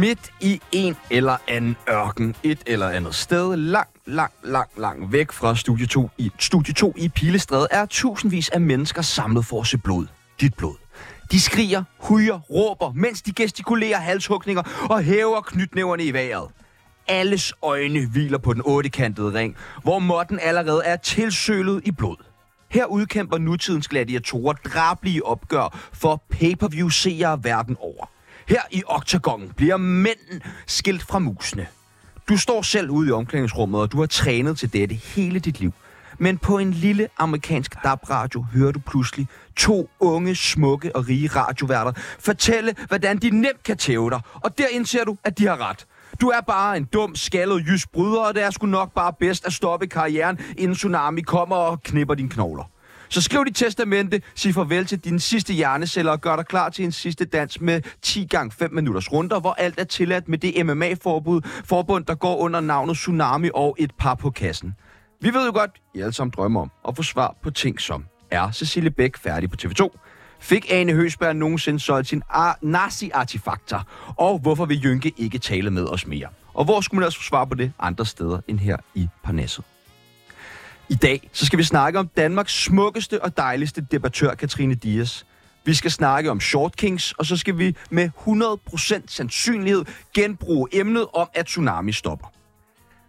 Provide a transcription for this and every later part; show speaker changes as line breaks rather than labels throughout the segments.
Midt i en eller anden ørken, et eller andet sted, langt, langt, langt, langt væk fra studie 2 i, studie 2 i Pilestræde, er tusindvis af mennesker samlet for at se blod. Dit blod. De skriger, hujer, råber, mens de gestikulerer halshugninger og hæver knytnæverne i vejret. Alles øjne hviler på den ottekantede ring, hvor måtten allerede er tilsølet i blod. Her udkæmper nutidens gladiatorer drablige opgør for pay-per-view-seere verden over. Her i oktagonen bliver mænden skilt fra musene. Du står selv ude i omklædningsrummet, og du har trænet til dette hele dit liv. Men på en lille amerikansk DAB-radio hører du pludselig to unge, smukke og rige radioværter fortælle, hvordan de nemt kan tæve dig. Og der indser du, at de har ret. Du er bare en dum, skaldet jysk bryder, og det er sgu nok bare bedst at stoppe karrieren, inden tsunami kommer og knipper dine knogler. Så skriv dit testamente, sig farvel til dine sidste hjerneceller og gør dig klar til en sidste dans med 10 gange 5 minutters runder, hvor alt er tilladt med det MMA-forbund, forbund, der går under navnet Tsunami og et par på kassen. Vi ved jo godt, I alle sammen drømmer om at få svar på ting som, er Cecilie Bæk færdig på TV2? Fik Ane Høsberg nogensinde solgt sin ar- nazi-artefakter? Og hvorfor vil Jynke ikke tale med os mere? Og hvor skulle man ellers få svar på det andre steder end her i Parnasset? I dag så skal vi snakke om Danmarks smukkeste og dejligste debattør, Katrine Dias. Vi skal snakke om Short Kings, og så skal vi med 100% sandsynlighed genbruge emnet om, at tsunami stopper.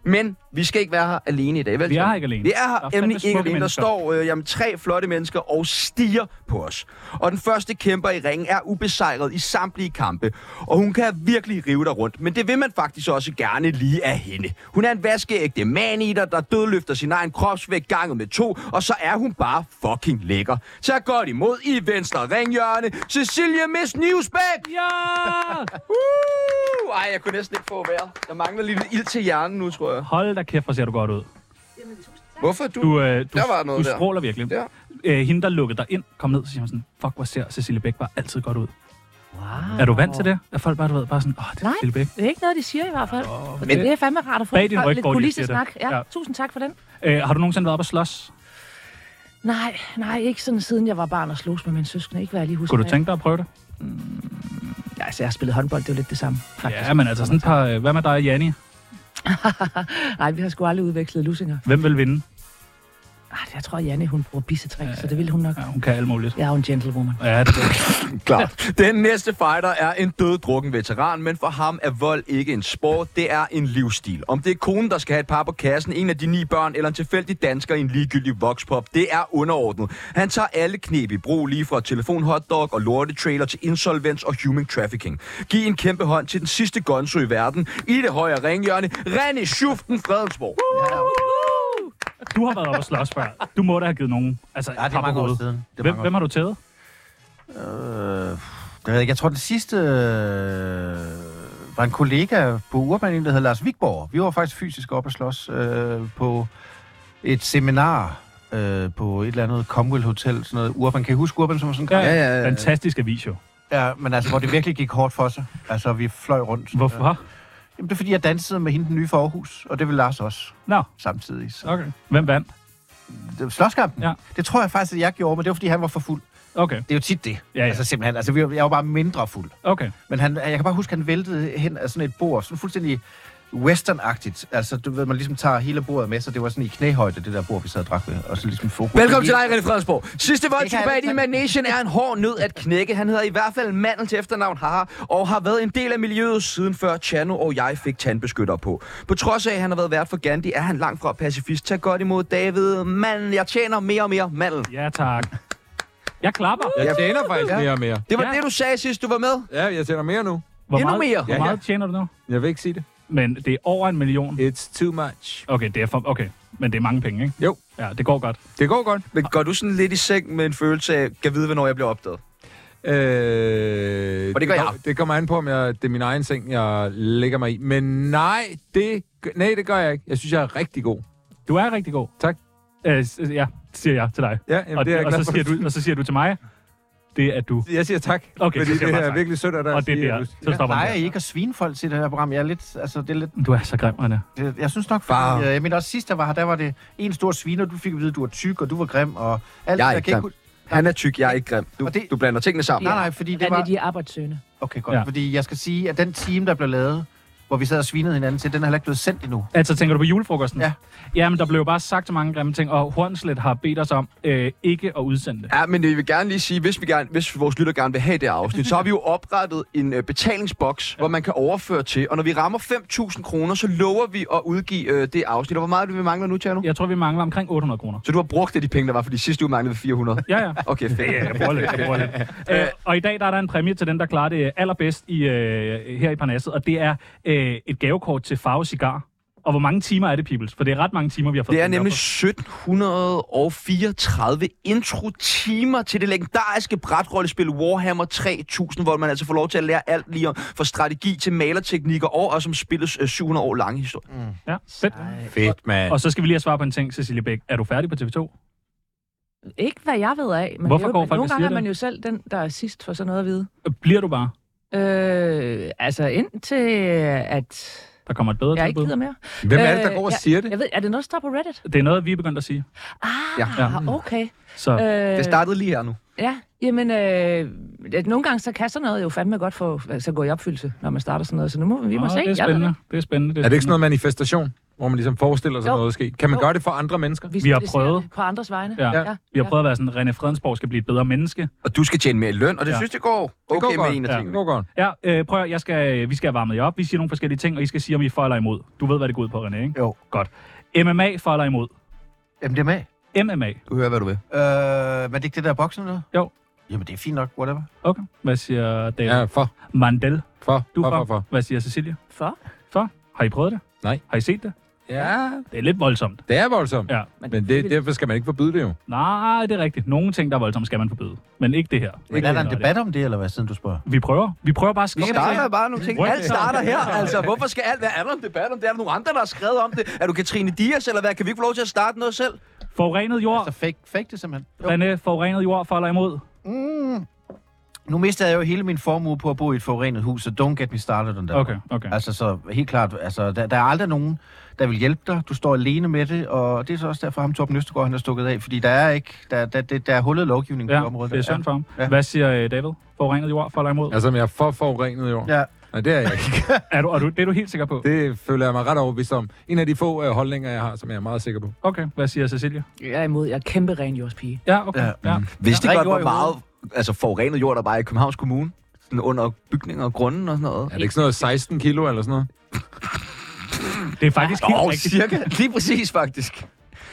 Men vi skal ikke være her alene i dag, vel?
Vi er
Tom?
her ikke alene.
Vi er
Der
her
er
er
fandme
nemlig ikke
smukke
alene. Der
mennesker.
står øh, jamen, tre flotte mennesker og stiger på os. Og den første kæmper i ringen er ubesejret i samtlige kampe. Og hun kan virkelig rive dig rundt. Men det vil man faktisk også gerne lige af hende. Hun er en vaskeægte man-eater, der dødløfter sin egen kropsvægt ganget med to. Og så er hun bare fucking lækker. Tag godt imod i venstre ringhjørne. Cecilie Miss Newsback!
Ja!
Uh! Ej, jeg kunne næsten ikke få vejret. Der mangler lige lidt ild til hjernen nu, tror jeg.
Hold da kæft, hvor ser du godt ud.
Hvorfor er du...
Du, øh, du,
Der var noget
du
der.
stråler virkelig.
Der.
Øh, hende, der lukkede dig ind, kom ned, så siger man sådan, fuck, hvor ser Cecilie Bæk bare altid godt ud.
Wow.
Er du vant til det? Er folk bare, du ved, bare sådan, åh, oh, det er
Nej.
Cecilie Bæk.
Det er ikke noget, de siger i hvert fald.
Åh,
Men
men-
det er fandme rart at få
Bag din
folk-
ryg
lidt
går de og
kulissesnak.
siger det.
Ja,
Ja.
ja. Tusind tak for den.
Øh, har du nogensinde været op og slås?
Nej, nej, ikke sådan siden jeg var barn og slogs med mine søskende. Ikke hvad jeg lige husker.
Kunne du tænke dig at prøve det?
Ja, altså, jeg har spillet håndbold, det er jo lidt det samme. Faktisk.
Ja, men altså sådan et par, øh, hvad med dig og Janni?
Nej, vi har sgu aldrig udvekslet lussinger.
Hvem vil vinde?
Ej, jeg tror, Janne, hun bruger bissetrik, så det ville hun nok.
Ja, hun kan alt muligt.
Jeg er jo en gentlewoman.
Ja, det er det.
Klart. Den næste fighter er en døddrukken veteran, men for ham er vold ikke en sport, det er en livsstil. Om det er konen, der skal have et par på kassen, en af de ni børn eller en tilfældig dansker i en ligegyldig voxpop, det er underordnet. Han tager alle knep i brug, lige fra telefonhotdog og lortetrailer til insolvens og human trafficking. Giv en kæmpe hånd til den sidste gonzo i verden, i det højre ringhjørne, René Schuften Fredensborg.
Du har været op og slås før. Du må da have givet nogen. Altså,
Ja, det er mange år siden. Det er
Hvem,
mange år
hvem har du taget?
Øh, det ved jeg ikke. Jeg tror, den sidste øh, var en kollega på Urban, der hed Lars Vigborg. Vi var faktisk fysisk oppe og slås øh, på et seminar øh, på et eller andet Comwell Hotel, sådan noget Urban. Kan I huske Urban som sådan en
ja, ja, ja.
Fantastisk avis jo.
Ja, men altså, hvor det virkelig gik hårdt for sig. Altså, vi fløj rundt.
Hvorfor?
Jamen, det er, fordi jeg dansede med hende den nye for Aarhus, og det vil Lars også
Nå,
samtidig. Så.
okay. Hvem vandt?
Okay. Slåskampen,
Ja.
ja. det tror jeg faktisk, at jeg gjorde, men det var, fordi han var for fuld.
Okay,
Det er jo tit det.
Ja, ja.
Altså, simpelthen. Altså, vi var, jeg var bare mindre fuld.
okay.
Men han, jeg kan bare huske, at han væltede hen af sådan et bord, sådan fuldstændig western-agtigt. Altså, du ved, man ligesom tager hele bordet med, så det var sådan i knæhøjde, det der bord, vi sad og drak ved, og så ligesom fokus.
Velkommen til dig, René Fredensborg. Sidste voldsjubbat
Det kan jeg
i
ikke.
Manesien er en hård nød at knække. Han hedder i hvert fald Mandel til efternavn Haha, og har været en del af miljøet siden før Chano og jeg fik tandbeskytter på. På trods af, at han har været vært for Gandhi, er han langt fra pacifist. Tag godt imod David. Manden, jeg tjener mere og mere. Mandel.
Ja, tak. Jeg klapper.
Jeg tjener faktisk
Ja.
mere og mere.
Det var
Ja.
det, du sagde sidst, du var med.
Ja, jeg tjener mere nu.
Hvor
Endnu
meget,
mere.
Hvor
Ja, ja.
meget tjener du nu?
Jeg vil ikke sige det.
Men det er over en million.
It's too much.
Okay, det er for, okay. Men det er mange penge, ikke?
Jo.
Ja, det går godt.
Det går godt.
Men går du sådan lidt i seng med en følelse af, kan vide, hvornår jeg bliver opdaget?
Øh,
Og det gør jeg.
kom- Det kommer an på, om jeg, det er min egen seng, jeg lægger mig i. Men nej, det, g- nej, det gør jeg ikke. Jeg synes, jeg er rigtig god.
Du er rigtig god.
Tak.
Øh, s- ja, siger jeg til dig.
Ja, jamen,
og,
det er jeg
og,
glad
så
for.
siger du, og så siger du til mig, det er du.
Jeg siger tak,
Okay, så
fordi
siger jeg
det
bare
er
tak.
virkelig sødt af dig.
Og
at
det er
sige, at
der.
du-
Så stopper
Plejer I
den
ikke at svine folk til det her program? Jeg er lidt, altså, det er lidt,
der. Du er så grim, Anna.
det, jeg synes nok,
Bare-
fordi, øh, jeg mener også sidst, jeg var her, der var det en stor sviner, du fik at vide, at du var tyk, og du var grim, og alt
Jeg er
det,
ikke
kan
grim.
ikke
Han er tyk, jeg er ikke grim. Du,
Og det-
det... du blander tingene sammen.
Nej, nej, fordi det
Han er
var...
de arbejdssøgende.
Okay, godt.
Ja.
Fordi jeg skal sige, at den time, der blev lavet, hvor vi sad og svinede hinanden til, den er heller ikke blevet sendt endnu.
Altså, tænker du på julefrokosten?
Ja.
Jamen, der blev jo bare sagt så mange grimme ting, og Hornslet har bedt os om øh, ikke at udsende det.
Ja, men jeg vil gerne lige sige, hvis, vi gerne, hvis vores lytter gerne vil have det afsnit, så har vi jo oprettet en øh, betalingsboks, hvor man kan overføre til. Og når vi rammer 5.000 kroner, så lover vi at udgive øh, det afsnit. Og hvor meget er det, vi mangler nu, Tjerno? Ja.
Jeg tror, vi mangler omkring 800 kroner.
Så du har brugt det, de penge, der var, fordi sidste uge manglede vi 400.
Ja, ja.
Okay, fedt.
Ja, jeg bruger lidt, jeg bruger lidt. Øh, og i dag der er der en præmie til den, der klarer det allerbedst i, øh, her i Parnasset, og det er øh, et gavekort til Farve Cigar. Og hvor mange timer er det, Peoples? For det er ret mange timer, vi har fået.
Det er
den her
nemlig
på.
1734 intro-timer til det legendariske brætrollespil Warhammer 3000, hvor man altså får lov til at lære alt lige om, fra strategi til malerteknikker og, og som spillets øh, 700 år lange historie.
Ja, fedt.
Fedt, mand.
Og så skal vi lige have svar på en ting, Cecilie Bæk. Er du færdig på TV2?
Ikke hvad jeg ved af. Men
Hvorfor
jo,
går folk og
Nogle
siger
gange er
det?
man jo selv den, der er sidst for sådan noget at vide.
Øh, Bliver du bare?
Øh, altså indtil, at
Der kommer et bedre
jeg ikke
tilbud.
gider mere.
Hvem er det, der
Øh,
går og siger det?
Jeg ved, er det noget, der står på Reddit?
Det er noget, vi er begyndt at sige.
Ah,
Ja.
ja. okay.
Så
Øh,
Det startede lige her nu.
Ja, jamen, øh, at nogle gange så kan sådan noget jo fandme godt få, så gå i opfyldelse, når man starter sådan noget. Så nu må vi må se.
det er
Jeg ved
spændende. Det er spændende.
Er det ikke sådan noget manifestation, hvor man ligesom forestiller sig
Jo.
noget ske? Kan man
Jo.
gøre det for andre mennesker?
ikke.
Vi har
skisserer
prøvet.
det På andres vegne.
Ja.
ja.
Vi har prøvet at være sådan, René Fredensborg skal blive et bedre menneske.
Og du skal tjene mere i løn, og det
Ja.
ja. synes det går okay
går
det går
godt,
med en af
ja.
tingene.
Nå, godt.
Ja, øh, prøv at, høre, jeg skal, vi skal have varmet jer op. Vi siger nogle forskellige ting, og I skal sige, om I er for eller imod. Du ved, hvad det går ud på, René, ikke?
Jo.
Godt. MMA for eller imod?
MDMA.
MMA.
Du hører, hvad du vil.
Øh, men det er ikke det der boksen noget?
Jo.
Jamen, det er fint nok, whatever.
Okay. Hvad siger David?
Ja,
Ja.
for,
Mandel.
for,
Du er
for,
for.
for, for.
Hvad siger Cecilia?
For?
For? Har I prøvet det?
Nej.
Har I set det?
Ja,
Det er lidt voldsomt.
det er voldsomt.
Ja.
Men det, derfor skal man ikke forbyde det jo.
Nej, det er rigtigt. Nogle ting, der er voldsomt, skal man forbyde. Men ikke det her.
Men
Ikke
er
det
der en
her,
debat om det, eller hvad, siden du spørger?
det. Vi prøver. Vi prøver bare at
Vi
skrive.
starter bare nogle ting.
Ryk.
Alt starter her. Altså, hvorfor skal alt være andet om debat om det? Er der nogle andre, der har skrevet om det? Er du Katrine Dias, eller hvad? Kan vi ikke få lov til at starte noget selv?
Forurenet jord.
Altså, fake, fake det simpelthen.
René,
Jo.
forurenet jord for eller imod?
Mm. Nu mistede jeg jo hele min formue på at bo i et forurenet hus, så don't get me started on that.
Okay, okay.
Altså, så helt klart, altså, der, der er aldrig nogen, der vil hjælpe dig. Du står alene med det, og det er så også derfor, ham Torben Østergaard, han er stukket af, fordi der er ikke, der, der, der, der er hullet lovgivning på
Ja,
området.
det er synd for ham.
Ja.
Hvad siger øh, David? Forurenet jord for eller imod?
Altså, om jeg er for forurenet jord.
Ja.
Nej, det er jeg ikke.
Er du, er du, det er du helt sikker på?
Det føler jeg mig ret overbevist om. En af de få øh, holdninger, jeg har, som jeg er meget sikker på.
Okay, hvad siger Cecilia?
Jeg er imod. Jeg er kæmpe ren jordspige.
Ja, okay. Ja.
Ja.
ja.
Hvis det
Rent
godt,
jord
hvor
i
meget altså, forurenet jord, der bare er i Københavns Kommune. Sådan under bygninger og grunden og sådan noget.
Er det ikke sådan noget 16 kilo eller sådan noget?
Det er faktisk helt
Åh, oh,
rigtigt.
cirka. Lige præcis, faktisk.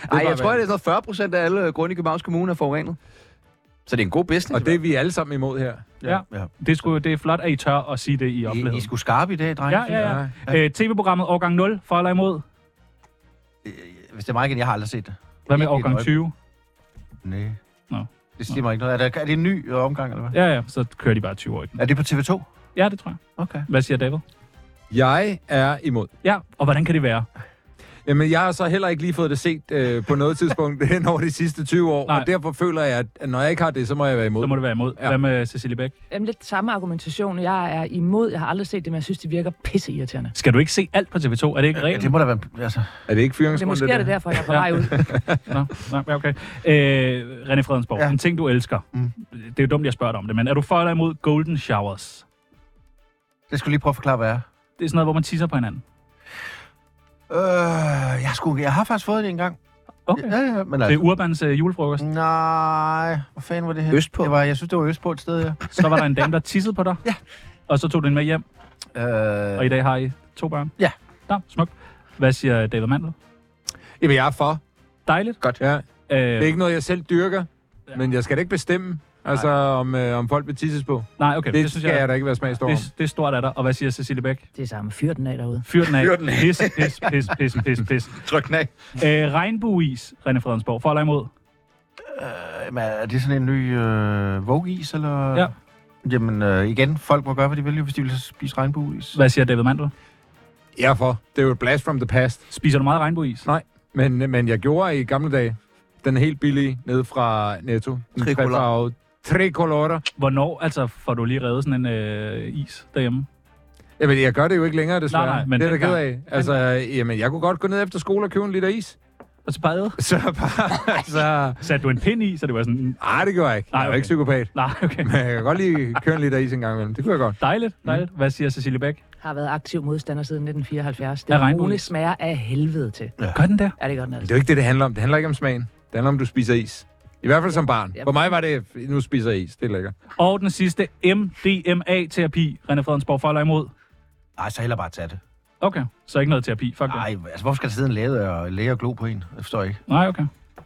Ej,
bare
jeg tror,
vanvittigt.
det er sådan noget 40 procent af alle grunde i Københavns Kommune er forurenet. Så det er en god business.
Og det er vi alle sammen imod her.
Ja.
ja.
Det, skulle, det er flot, at I tør at sige det i
I, I
oplevelsen.
skulle skarpe i dag, drenge.
Ja, ja, ja.
Ja.
Øh, TV-programmet Årgang 0, for eller imod?
Hvis det er mig igen, jeg har aldrig set det.
Hvad med
Ikke et
Årgang
øjeblik.
20?
Nej.
Nå.
Det siger mig ikke noget. Er, der, er det en ny øh, omgang, eller hvad?
Ja, ja, så kører de bare 20 år i den.
Er det på TV2?
Ja, det tror jeg.
Okay.
Hvad siger David?
Jeg er imod.
Ja, og hvordan kan det være?
Jamen, jeg har så heller ikke lige fået det set øh, på noget tidspunkt hen over de sidste 20 år,
Nej.
og derfor føler jeg, at når jeg ikke har det, så må jeg være imod.
Så må det være imod.
Ja.
Hvad med Cecilie Bæk?
Jamen, lidt samme argumentation. Jeg er imod. Jeg har aldrig set det, men jeg synes, det virker pisseirriterende.
Skal du ikke se alt på TV2? Er det ikke
Ja, det
reglen?
må da være... Altså,
Er det ikke
Det er måske
fyringsrunden,
det, er det
der?
derfor, jeg er på vej ud.
Nå, nej, ja, okay. Øh, René Fredensborg, ja.
Ja.
en ting, du elsker. Mm.
Mm.
Det er jo dumt, jeg spørger dig om det, men er du for eller imod Golden Showers?
det skulle lige prøve at forklare, hvad jeg er.
Det er sådan noget, hvor man tisser på hinanden.
Øh, jeg, skulle, jeg har faktisk fået det en gang.
Okay.
Ja, ja, men
Det er
altså...
Urbans øh, julefrokost.
Nej, hvor fanden var det her?
Østpå.
Det var, jeg synes, det var Østpå et sted, ja.
Så var der en dame, der tissede på dig.
Ja.
Og så tog du den med hjem, og
Øh,
i dag har I to børn.
Ja.
Nå, smukt. Hvad siger David Mandel?
Jamen, jeg er for.
Dejligt.
Godt. Ja.
Øh,
Det er ikke noget, jeg selv dyrker, men jeg skal da ikke bestemme, altså, om, øh, om folk vil tisses på.
Nej, okay,
Det, det skal jeg, da ikke være smagstor om.
det, det er stort af dig. Og hvad siger Cecilie Bæk?
Det er samme. Fyr den af derude.
Fyr den af.
Fyr den af.
Pis, pis, pis, pis, pis, pis.
Tryk den af.
Øh, regnbueis, René Fredensborg. For eller imod?
øh, men er det sådan en ny øh, Vogue-is, eller...
Ja.
Jamen, øh, igen, folk må gøre, hvad de vil, jo, hvis de vil spise regnbueis.
Hvad siger David Mandel?
Jeg er for. Det er jo et blast from the past.
Spiser du meget regnbueis?
Nej, men, men jeg gjorde i gamle dage den helt billige nede fra Netto. Den
Tricolor.
trefarvede Tricolore.
Hvornår altså får du lige reddet sådan en øh, is derhjemme?
Jamen, jeg gør det jo ikke længere, desværre.
Nej, nej, men
det er jeg da ked
dengang-
af. Altså, jamen, jeg kunne godt gå ned efter skole og købe en liter is.
og spade.
Så bare... så...
Satte du en pind i, så det var sådan...
Nej, det gjorde jeg ikke.
Nej,
Nej, okay. Jeg er
okay.
ikke psykopat.
Nej, okay.
Men jeg kan godt lige køre en liter is en gang imellem. Det kunne jeg godt.
Dejligt, dejligt. Hvad siger Cecilie Bæk?
Har været aktiv modstander siden 1974.
Af
Det
regnbuen?
brune smager af helvede til.
Gør den der?
Er det godt nok?
Men det er jo ikke det, det handler om. Det handler ikke om smagen. Det handler om, at du spiser is. I hvert fald som barn. For mig var det, nu spiser jeg is. Det er lækkert.
Og den sidste, MDMA-terapi. René Fredensborg for eller imod?
Nej, så heller bare tage det.
Okay, så ikke noget terapi. Fuck det.
Nej, altså hvorfor skal der sidde en læge og, læge og glo på en? Jeg forstår ikke.
Nej, okay.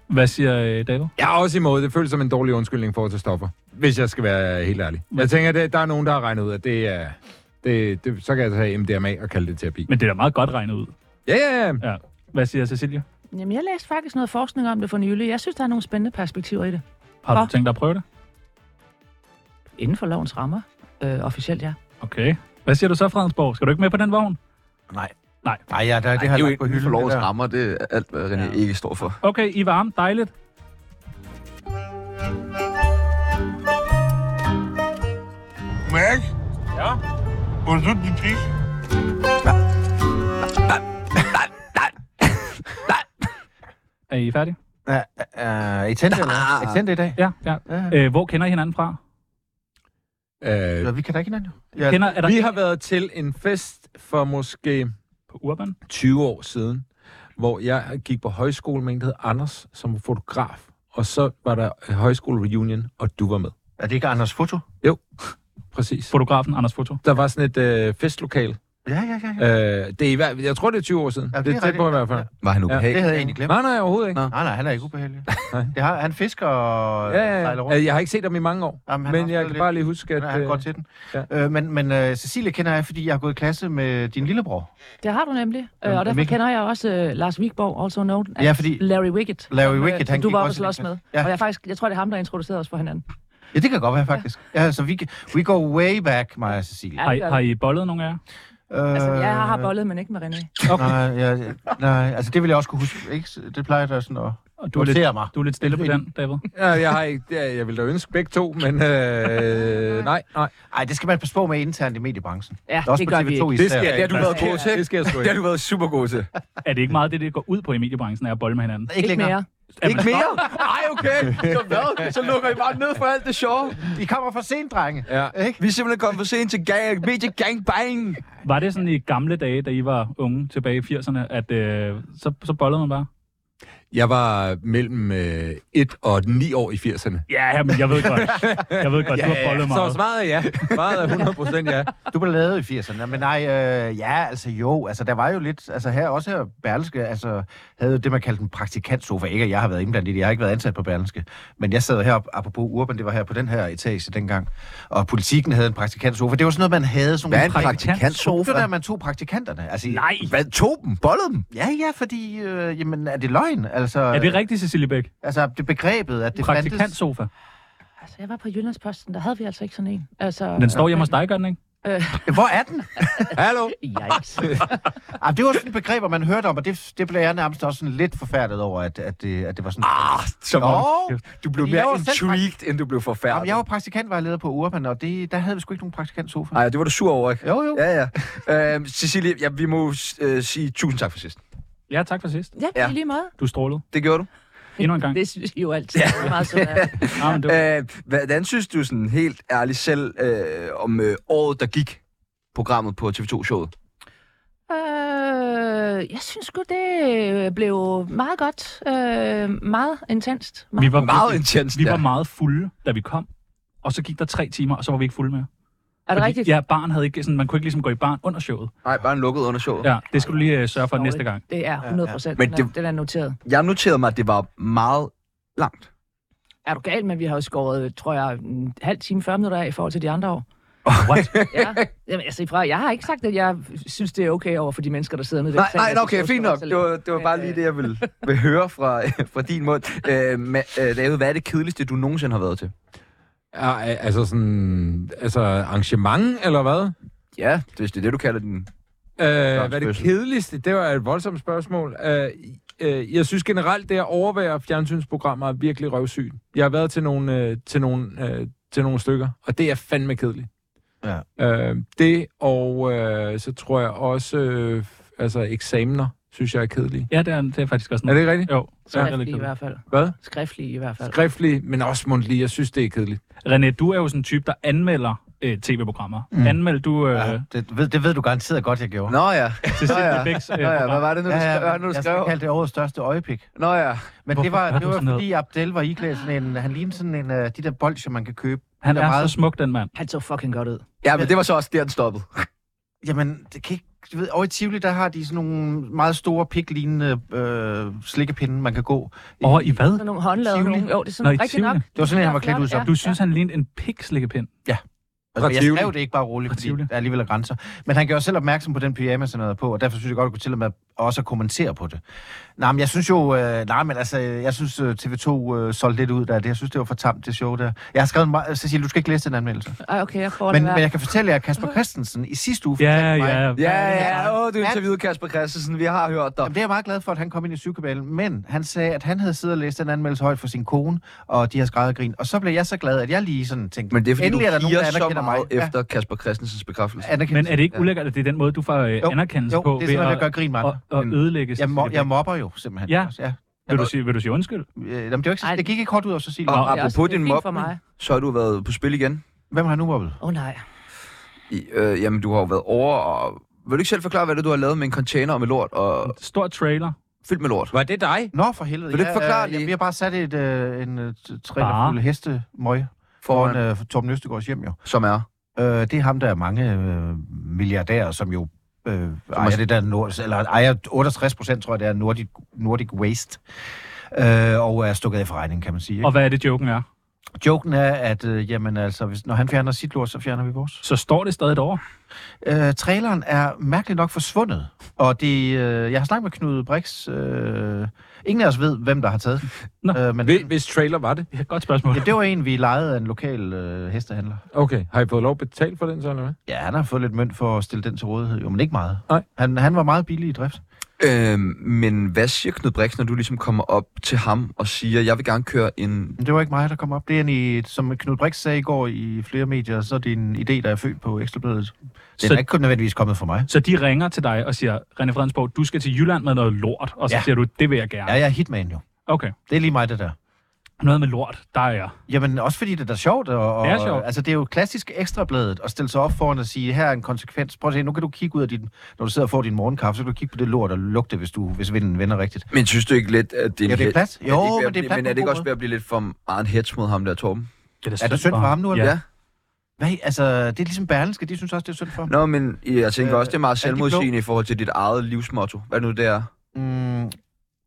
Hvad siger øh, David?
Jeg er også imod. Det føles som en dårlig undskyldning for at tage stoffer. Hvis jeg skal være helt ærlig. Jeg tænker, det, der er nogen, der har regnet ud, at det er... Det, det, så kan jeg tage MDMA og kalde det terapi.
Men det er da meget godt regnet ud.
Ja, ja, ja.
Ja. Hvad siger Cecilie?
Jamen, jeg læste faktisk noget forskning om det for nylig. Jeg synes, der er nogle spændende perspektiver i det.
Har du
Hva?
tænkt dig at prøve det?
Inden for lovens rammer. Øh, officielt, ja.
Okay. Hvad siger du så, Fredensborg? Skal du ikke med på den vogn?
Nej.
Nej.
Nej, ja, der, det har jeg lagt på
Vi får
hylden.
lov
det
at
der.
rammer, det er alt, hvad René ja. ikke står for.
Okay, I er varme. Dejligt.
Mærk? Ja? Hvor er du din pik?
Er I færdige?
Ja, øh, I tændte, eller? Er I tændte i dag?
Ja, ja. Øh, hvor kender I hinanden fra?
Øh,
Ja, vi kan da ikke hinanden. jo. Ja,
Kender, er der
vi har været til en fest for måske
på Urban?
20 år siden, hvor jeg gik på højskole med en, der hed Anders, som var fotograf. Og så var der højskole reunion, og du var med.
er det ikke Anders Foto?
Præcis.
Fotografen Anders Foto.
Der var sådan et øh, festlokal.
Ja, ja, ja. ja.
Øh, det er i hver, jeg tror, det er 20 år siden.
Ja,
Ja,
det
det, det
er
er tæt på i
rigtigt.
hvert fald. Ja.
Var han
Det
ubehagelig?
havde jeg egentlig glemt.
Nej, nej, overhovedet ikke.
Nå.
Nej, nej, han er ikke ubehagelig. det har, han fisker og
Ja, ja,
sejler
ja.
rundt.
Øh, Jeg har ikke set dem i mange år,
Jamen,
Jamen,
han har
men
også
jeg
været
kan
lidt-
bare lige huske, at...
Han er
øh,
godt til den.
ja.
Øh, men men øh, Cecilie kender jeg, fordi jeg har gået i klasse med din lillebror.
Det har du nemlig.
Jamen,
Øh, og derfor
Mikkel.
kender jeg også øh, Lars Wigborg, also known as
Ja, fordi-
Larry Wickett.
Larry
som, øh,
Wickett,
som
han
du
gik
var
også i
også
den
slås med.
klasse. Ja.
Og jeg, faktisk, jeg tror, det er ham, der introducerede os for hinanden.
Ja, det kan godt være, faktisk. Ja, så vi, we go way back, mig og Cecilie.
Ja,
Har, I-
det gør
har I bollet nogen af jer?
Øh,
Altså, jeg har bollet, men ikke med René.
Okay. Nej, ja, nej, altså det vil jeg også kunne huske. Ikke? Det plejer der sådan at
Og du er, lidt,
notere mig.
du er lidt stille på den, David.
Ja, jeg har ikke... Ja, jeg ville da ønske begge to, men øh, nej, nej.
Ej, det skal man passe på med internt i mediebranchen.
Ja,
Der er også
det
på
gør vi
TV2
ikke.
især.
Det har du været god til.
Det skal jeg sgu
Det har
ikke.
du været super god til.
Er det ikke meget det, det går ud på i mediebranchen, er at bolle med hinanden?
Ikke
Ikke
længere.
mere.
Er man-
Ikke mere? Ej, okay. Så hvad? Så lukker I bare ned for alt det sjove.
I kommer for sent, drenge.
Ja.
Ikke?
Vi er simpelthen kommet for sent til gang, medie gangbang.
Var det sådan i gamle dage, da I var unge tilbage i 80'erne, at øh, så, så bollede man bare?
Jeg var mellem 1 og 9 år i 80'erne.
Ja, men jeg ved godt. Jeg ved godt, du har bollet
så
meget.
svaret er ja. Svaret er 100 procent ja.
Du blev lavet i 80'erne, men nej, øh, ja, altså jo, altså der var jo lidt, altså her også her, Berlske, altså havde jo det, man kaldte en praktikantsofa, ikke at jeg har været indblandet i det, jeg har ikke været ansat på Berlske, men jeg sad heroppe, apropos Urban, det var her på den her etage dengang, og politikken havde en praktikantsofa, det var sådan noget, man havde, sådan
Hvad er en
nogle praktik-
praktikantsofa?
Det var der, man tog praktikanterne, altså,
Nej!
Hvad tog dem? Bollede dem?
ja, ja, fordi, øh, jamen, er det løgn, altså,
Er det rigtigt, Cecilie Bæk?
altså det begrebet, at det fandtes,
Praktikantsofa.
Altså, jeg var på Jyllandsposten, der havde vi altså ikke sådan en. Altså,
Den står hjemme hos dig, gør den ikke?
hvor er den?
Hallo?
Yikes.
Ah, det var sådan et begreb, man hørte om, og det, det blev jeg nærmest også sådan lidt forfærdet over, at, at, det, at det var sådan...
Ah, som
Nå,
om du blev
Jeg
mere
var selv
intrigued, end du blev
Jamen,
forfærdet.
jeg var praktikantvejleder på Urban, og det, der havde vi sgu ikke nogen praktikantsofa.
Nej, det var du sur over, ikke?
Jo, jo. Ja.
Ja, ja. Øhm, Cecilie, ja, vi må øh, sige tusind tak for sidst.
Ja, tak for sidst.
Ja,
Ja.
ja. lige måde.
Du strålede.
Det gjorde du.
Endnu en gang.
Det synes I jo altid. Ja. Det er meget sødt af jer.
Ja, men det var...
Øh, hvordan synes du sådan helt ærligt selv øh, om øh, året, der gik programmet på TV2-showet?
Øh, jeg synes sgu, det blev meget godt. Øh, meget intenst. Meget.
Vi var,
Meget intenst,
vi var
ja.
meget fulde, da vi kom. Og så gik der tre timer, og så var vi ikke fulde mere.
er det
Fordi-
rigtigt?
Ja, barn havde ikke, sådan, man kunne ikke ligesom gå i barn under showet.
Nej, bare en lukket under showet. Ja.
Ja, det skulle du lige øh, sørge for næste gang.
Det er 100 procent.
Men
Men
det-
det... Den er noteret.
Jeg noterede mig, at det var meget langt.
Er du gal, men vi har jo skåret, tror jeg, en halv time, 40 minutter af i forhold til de andre år.
What?
Ja. Jamen, altså, fra, jeg har ikke sagt, at jeg synes, det er okay over for de mennesker, der sidder nede i den
Nej,
sal,
nej,
at
nå,
det
okay,
skal
fint
stå
nok.
så
Det var, det var
Men,
bare lige
øh,
det, jeg ville, ville høre fra, fra din mund. Øh, ma- øh, David, hvad er det kedeligste, du nogensinde har været til?
Ja, altså sådan... Altså arrangement, eller hvad?
Ja, hvis det er det, du kalder den.
Øh, hvad er det
fødsel.
kedeligste? Det var et voldsomt spørgsmål. Øh, øh, jeg synes generelt, det at overvære fjernsynsprogrammer er virkelig røvsygt. Jeg har været til nogle, øh, til nogle, øh, til nogle stykker, og det er fandme kedeligt.
Ja.
Øh, det, og øh, så tror jeg også, øh, altså eksamener, synes jeg er kedelige.
Ja, det er, det er faktisk også
Er
noget.
det ikke rigtigt?
Jo.
Skriftlig i hvert fald.
Hvad?
Skriftlig i hvert fald.
Skriftlige, men også mundtlige. Jeg synes, det er kedeligt.
René, du er jo sådan en type, der anmelder øh, tv-programmer. Mm. Anmeld du... Øh, ja.
Det ved, det ved du garanteret godt, jeg gjorde.
Nå ja. Nå
Cecilie
ja.
Bæks, øh,
Nå ja,
program.
hvad var det nu, du skrev? Hvad var det nu, du
jeg
skrev?
kaldte det årets største øjepik.
Nå ja.
Men
Hvorfor
det var,
er
det
du
var
sådan noget?
fordi Abdel var iklædt sådan en... Han lignede sådan en af de der bolcher, man kan købe.
Han
Det er
er så
meget-
smuk, den mand.
Han så fucking godt ud.
Ja, men det var så også der, den stoppede.
Jamen, det kan ikke... Du ved, over i Tivoli, der har de sådan nogle meget store piklignende øh, slikkepinde, man kan gå.
Over i hvad?
Sådan nogle håndlade.
Tivoli?
Nogle, jo, det er
Nå,
sådan
i
rigtigt nok.
Tivoli.
Det var sådan, han var klædt ud som.
Ja.
Du synes, han lignede en pikslikkepind.
Altså, men jeg
Tivoli.
skrev det ikke bare roligt,
Fra
fordi
Tivoli.
der alligevel er grænser. Men han gjorde selv opmærksom på den pyjamas, han havde på, og derfor synes jeg godt, at kunne til og med også at kommentere på det. Nej, men jeg synes jo, øh, nej, men altså, jeg synes øh, TV2 øh, solgte lidt ud der. Det, jeg synes, det var for tamt, det show der. Jeg har skrevet en meget, øh, Cecilie, du skal ikke læse den anmeldelse.
Ej, okay, jeg får
Men,
det
men jeg kan fortælle jer, at Kasper Christensen i sidste uge
Ja,
fortalte mig,
ja.
Ja, ja,
ja.
åh, du interviewede Kasper Christensen, vi har hørt dig.
Jamen, det er jeg meget glad for, at han kom ind i syvkabalen, men han sagde, at han havde siddet og læst den anmeldelse højt for sin kone, og de har skrevet og grin. Og så blev jeg så glad, at jeg lige sådan tænkte,
Men det er fordi,
endelig er der
du
nogen, der
giver så
anerkender mig.
meget efter Kasper Christensens bekræftelse.
Ja, anerkendelse.
Men er det ikke
Ja.
ulækkert, at det er den måde, du får øh,
Jo,
anerkendelse
jo,
på?
det er sådan, at jeg gør grin mange.
at, at ødelægge
Jeg, mo-
Cecilie
jeg
Bæk?
mobber jo simpelthen.
Ja.
også, ja.
vil, du sige, vil du sige undskyld?
Øh, jamen, det, var ikke,
Ej.
det gik ikke hårdt ud af Cecilie.
Og
Nå,
det er også
apropos din
fint for
mobning,
mig.
så har du været på spil igen.
Hvem har nu mobbet?
Åh oh, nej.
I, øh, jamen, du har jo været over og... Vil du ikke selv forklare, hvad det er, du har lavet med en container med lort og
Stor trailer.
fyldt med lort?
Var det dig?
Nå, for helvede.
Vil du ikke
Ja,
forklare
øh,
det?
jamen, Vi har bare sat et, øh, en øh, t-
Bare.
trailerfulde hestemøg foran
Foran,
øh, Torben Østegårds hjem, jo.
som er.
Øh, det er ham, der er mange øh, milliardærer, som jo øh, ejer det der Nord, eller ejer 68 procent, tror jeg, det er Nordic, Nordic Waste. Øh, og er stukket af for regningen, kan man sige. Ikke?
Og hvad er det, joken er?
Joken er, at øh, jamen, altså, hvis, når han fjerner sit lort, så fjerner vi vores.
Så står det stadig over.
Øh, traileren er mærkeligt nok forsvundet, og det, øh, jeg har snakket med Knud Brix. Øh, ingen af os ved, hvem der har taget den.
Nå.
Øh, men,
Hvis, hvis trailer var det?
Det er et godt spørgsmål.
ja, det var en, vi lejede af en lokal øh, hestehandler.
Okay, har I fået lov at betale for den så, eller hvad?
Ja, han har fået lidt mønt for at stille den til rådighed, jo, men ikke meget.
Nej.
Han, han var meget billig i drift.
Øh, men hvad siger Knud Brix, når du ligesom kommer op til ham og siger, jeg vil gerne køre en...
Men det var ikke mig, der kom op. Det er en, i, som Knud Brix sagde i går i flere medier, så er det en idé, der er født på Ekstrabladet. Den
Så-
er ikke kun nødvendigvis kommet fra mig.
Så de ringer til dig og siger, René Fredensborg, du skal til Jylland med noget lort. Og så ja.
Ja.
siger du, det vil jeg gerne.
Ja, jeg er hitman jo.
Okay.
Det er lige mig, det der.
Noget med lort, der er jeg.
Jamen, også fordi det er da sjovt. Og, og,
Det er sjovt.
Altså, det er jo klassisk ekstrabladet at stille sig op foran og sige, her er en konsekvens. Prøv at se, nu kan du kigge ud af din... Når du sidder og får din morgenkaffe, så kan du kigge på det lort og lugte det, hvis, du, hvis vinden vender rigtigt.
Men synes du ikke lidt, at det er... en
Ja, det er
he-
plat.
at
Jo,
ikke ved at
men det
blive-
er plat
Men
på
er
en
det ikke
god
også
måde.
ved at blive lidt for meget en hedge mod ham der, Torben?
Det
Er det synd for ham nu, eller
Ja.
hvad?
Ja.
Hvad? Altså, det er ligesom Berlinske, de synes også, det er synd for.
Nå, men jeg tænker
Øh,
også, det er meget
er de blå?
selvmodsigende i forhold til dit eget livsmotto. Hvad er det nu, det er?
Mm, mit,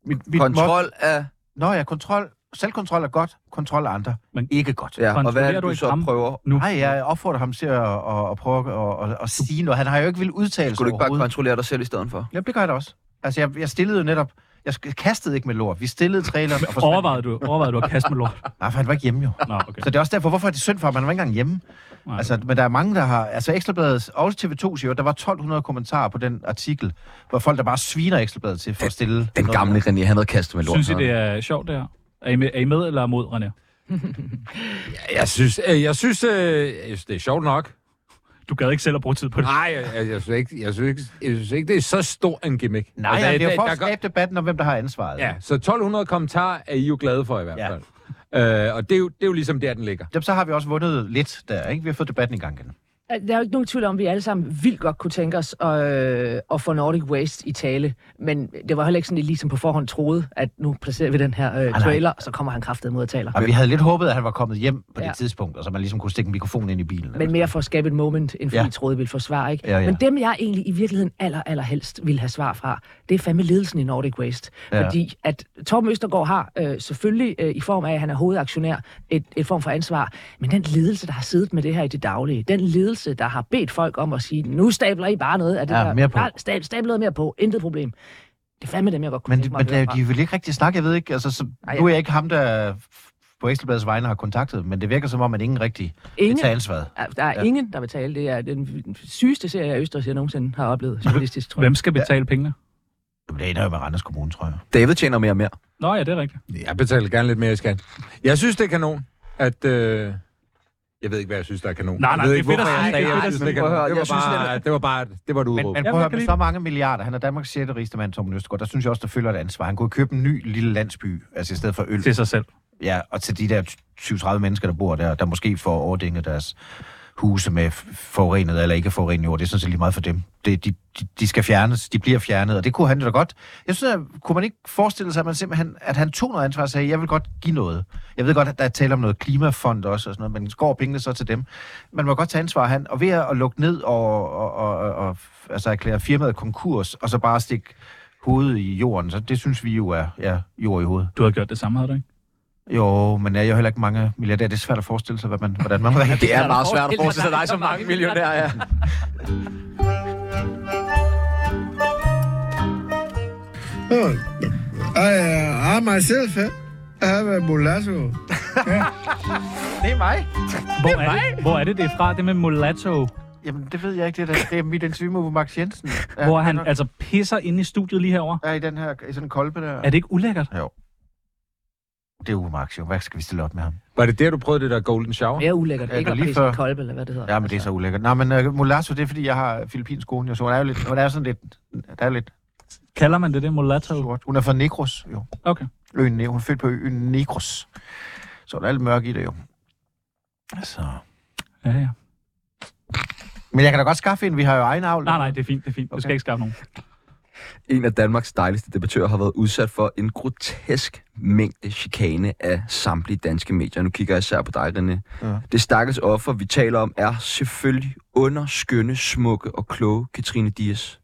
mit motto-
Kontrol af...
Nå ja, kontrol. Selvkontrol er godt, kontrol af andre.
Men-
Men ikke godt.
Ja, og hvad er
Kontrollerer
det,
du
du
ikke
så
ham?
prøver?
Nu.
Nej, jeg opfordrer ham til at, at, at prøve at, at, at sige noget. Han har jo ikke vil udtale sig
Skulle du ikke bare
overhovedet.
kontrollere dig selv i stedet for?
Jamen, det gør jeg da også. Altså, jeg, jeg stillede jo netop... Jeg sk- kastede ikke med lort. Vi stillede traileren og forsvandt.
Overvejede du, overvejede du at kaste med lort?
Nej, Ah, for han var ikke hjemme jo.
Nå, okay.
Så det er også derfor, hvorfor er det synd for ham? Han var ikke engang hjemme.
Nej.
Altså, men der er mange, der har... Altså, Ekstrabladets og TV2 siger, der var 1200 kommentarer på den artikel, hvor folk, der bare sviner Ekstrabladet til for at stille...
Den
noget.
gamle René, han havde kastet med lort.
Synes I, det er sjovt, det her? Er I med, er I med eller mod, René?
Jeg synes, øh, jeg synes, øh, jeg synes det er sjovt nok.
Du gad ikke selv at bruge tid på det.
Nej, jeg, jeg, jeg, synes ikke, jeg, synes ikke, jeg synes ikke, det er så stor en gimmick.
Nej, altså, det er jo for
der
at
går-
skabe debatten om, hvem der har ansvaret.
Ja, så 1200 kommentarer er I jo glade for i hvert
Ja.
fald. Ja. Øh, og det er, jo, det er jo ligesom der, den ligger.
Jamen, så har vi også vundet lidt der, ikke? Vi har fået debatten i gang igen.
Der er jo ikke nogen tvivl om, at vi alle sammen vildt godt kunne tænke os at, at få Nordic Waste i tale. Men det var heller ikke sådan, at I ligesom på forhånd troede, at nu placerer vi den her øh,
nej.
trailer, og så kommer han kraftet mod og taler.
Og vi havde lidt håbet, at han var kommet hjem på
Ja.
det tidspunkt, og så man ligesom kunne stikke en mikrofon ind i bilen.
Men mere for at skabe et moment, end fordi
Ja.
ja. troede ville få svar, ikke?
Ja, ja.
Men dem, jeg egentlig i virkeligheden aller, aller helst ville have svar fra, det er fandme ledelsen i Nordic Waste.
Ja.
Ja. Fordi at Torben Østergaard har øh, selvfølgelig, øh, i form af, at han er hovedaktionær, et, et form for ansvar, men den ledelse, der har siddet med det her i det daglige, den ledelse, der har bedt folk om at sige, nu stabler I bare noget af det
Ja,
der.
mere på.
Bare Stab, stab noget mere på, intet problem. Det er fandme dem, jeg godt kunne
Men, de,
tænke mig
men
at høre
de,
fra.
de vil ikke rigtig snakke, jeg ved ikke. Altså, så,
Ej,
nu er jeg ikke ham, der på Ekstrabladets vegne har kontaktet dem, men det virker som om, at ingen rigtig vil
Ingen.
tage ansvaret.
Ja, Der er
Ja.
ingen, der vil tale. Det er den sygeste serie af Østers, jeg nogensinde har oplevet journalistisk, tror jeg.
Hvem skal betale pengene?
Jamen, Det ender jo med Randers Kommune, tror jeg.
David tjener mere og mere.
Nå ja, det er rigtigt.
Jeg betaler gerne lidt mere i skat. Jeg synes, det er kanon, at, øh, Jeg ved ikke, hvad jeg synes, der er kanon.
Nej, nej,
jeg ved
det er
ikke,
fedt at
hvorfor
sige,
jeg sagde,
det er fedt
jeg
at
synes,
sige.
det er
Prøv at høre,
kanon.
jeg synes,
Det var bare, det var bare, det var et
Men,
udråb.
men
jeg
prøv at høre,
kan
med
lide-
så mange milliarder, han er Danmarks 6. rigeste mand, Torben Østergaard, der synes jeg også, der følger et ansvar. Han kunne købe en ny lille landsby, altså i stedet for øl.
til sig selv.
Ja, og til de der 20-30 mennesker, der bor der, der måske får overdænget deres huse med f- forurenet eller ikke forurenet jord. Det er sådan set lige meget for dem. Det, de, de, de skal fjernes, de bliver fjernet, og det kunne han jo da godt. Jeg synes, at, kunne man ikke forestille sig, at, man simpelthen, at han tog noget ansvar og sagde, jeg vil godt give noget. Jeg ved godt, at der er tale om noget klimafond også, og sådan noget, men går pengene så til dem. Man må godt tage ansvar, han. Og ved at lukke ned og, og, og, og, og altså erklære firmaet konkurs, og så bare stikke hovedet i jorden, så det synes vi jo er ja, jord i hovedet.
Du har gjort det samme, havde du ikke?
Jo, men jeg er jo heller ikke mange milliardærer. Det er svært at forestille sig, hvad man, hvordan man reagerer.
Det er
der
meget
forskel
svært at
på
forestille sig
dig
dig
og
som mange
mange
millionærer, ja.
Oh, I, uh, I myself eh, I have a mulatto.
det er mig.
Hvor er det, hvor er det, det er fra? Det med mulatto,
Jamen, det ved jeg ikke. Det er, da- det er mit interview med Max Jensen. Ja,
hvor han
er,
altså pisser ind i studiet lige herover.
er i den her i sådan en kolbe der.
Er det ikke ulækkert?
Det er jo Max, jo. Hvad skal vi stille op med ham?
Var det der, du prøvede det der golden shower?
Mere ulækkert.
Ja,
Ikke
men
at
lige
pisse i
før-
kolbe, eller hvad det hedder. Altså,
Ja, men det er så ulækkert. Nej, men uh, mulatto, det er fordi, jeg har filippinsk kone, jo, så hun er jo lidt, hun er jo sådan lidt, der er lidt
Kalder man det det mulatto?
sort. Hun er fra Negros, jo.
Okay.
Øen, Ne- hun er født på øen Negros. Så der er lidt mørk i det, jo. Så.
Ja, ja.
Men jeg kan da godt skaffe en, vi har jo egen avl.
Nej, nej, det er fint, det er fint. Du skal
Okay.
ikke skaffe nogen.
En af Danmarks dejligste debattører har været udsat for en grotesk mængde chikane af samtlige danske medier. Nu kigger jeg især på dig, René. Ja.
Ja.
Det stakkels offer, vi taler om, er selvfølgelig underskønne, smukke og kloge Katrine Dias.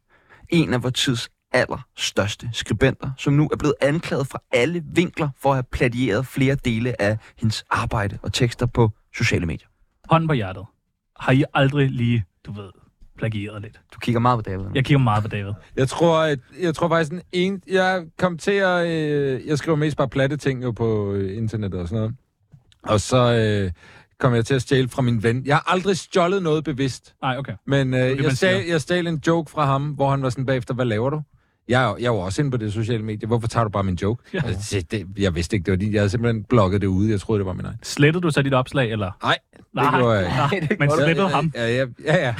En af vores tids allerstørste skribenter, som nu er blevet anklaget fra alle vinkler for at have pladieret flere dele af hendes arbejde og tekster på sociale medier.
Hånden på hjertet. Har I aldrig lige, du ved, plagieret lidt?
Du kigger meget på David.
Jeg kigger meget på David.
Jeg tror, at, jeg tror faktisk, en, en, jeg kom til at... Øh, jeg skriver mest bare platte ting jo på øh, internettet og sådan noget. Og så øh, kom jeg til at stjæle fra min ven. Jeg har aldrig stjålet noget bevidst,
Nej, okay.
men øh,
det,
jeg,
man siger.
stjal, jeg stjal en joke fra ham, hvor han var sådan bagefter, hvad laver du? Jeg, er jo- jeg var også inde på det sociale medie. Hvorfor tager du bare min joke? Ja. Altså, det- det, jeg vidste ikke, det var din. Jeg havde simpelthen blokket det ude. Jeg troede, det var min egen.
Slettede du så dit opslag, eller?
Nej,
Nej,
det gjorde jeg ikke.
nej, men slettede ham.
Ja, ja, ja. ja.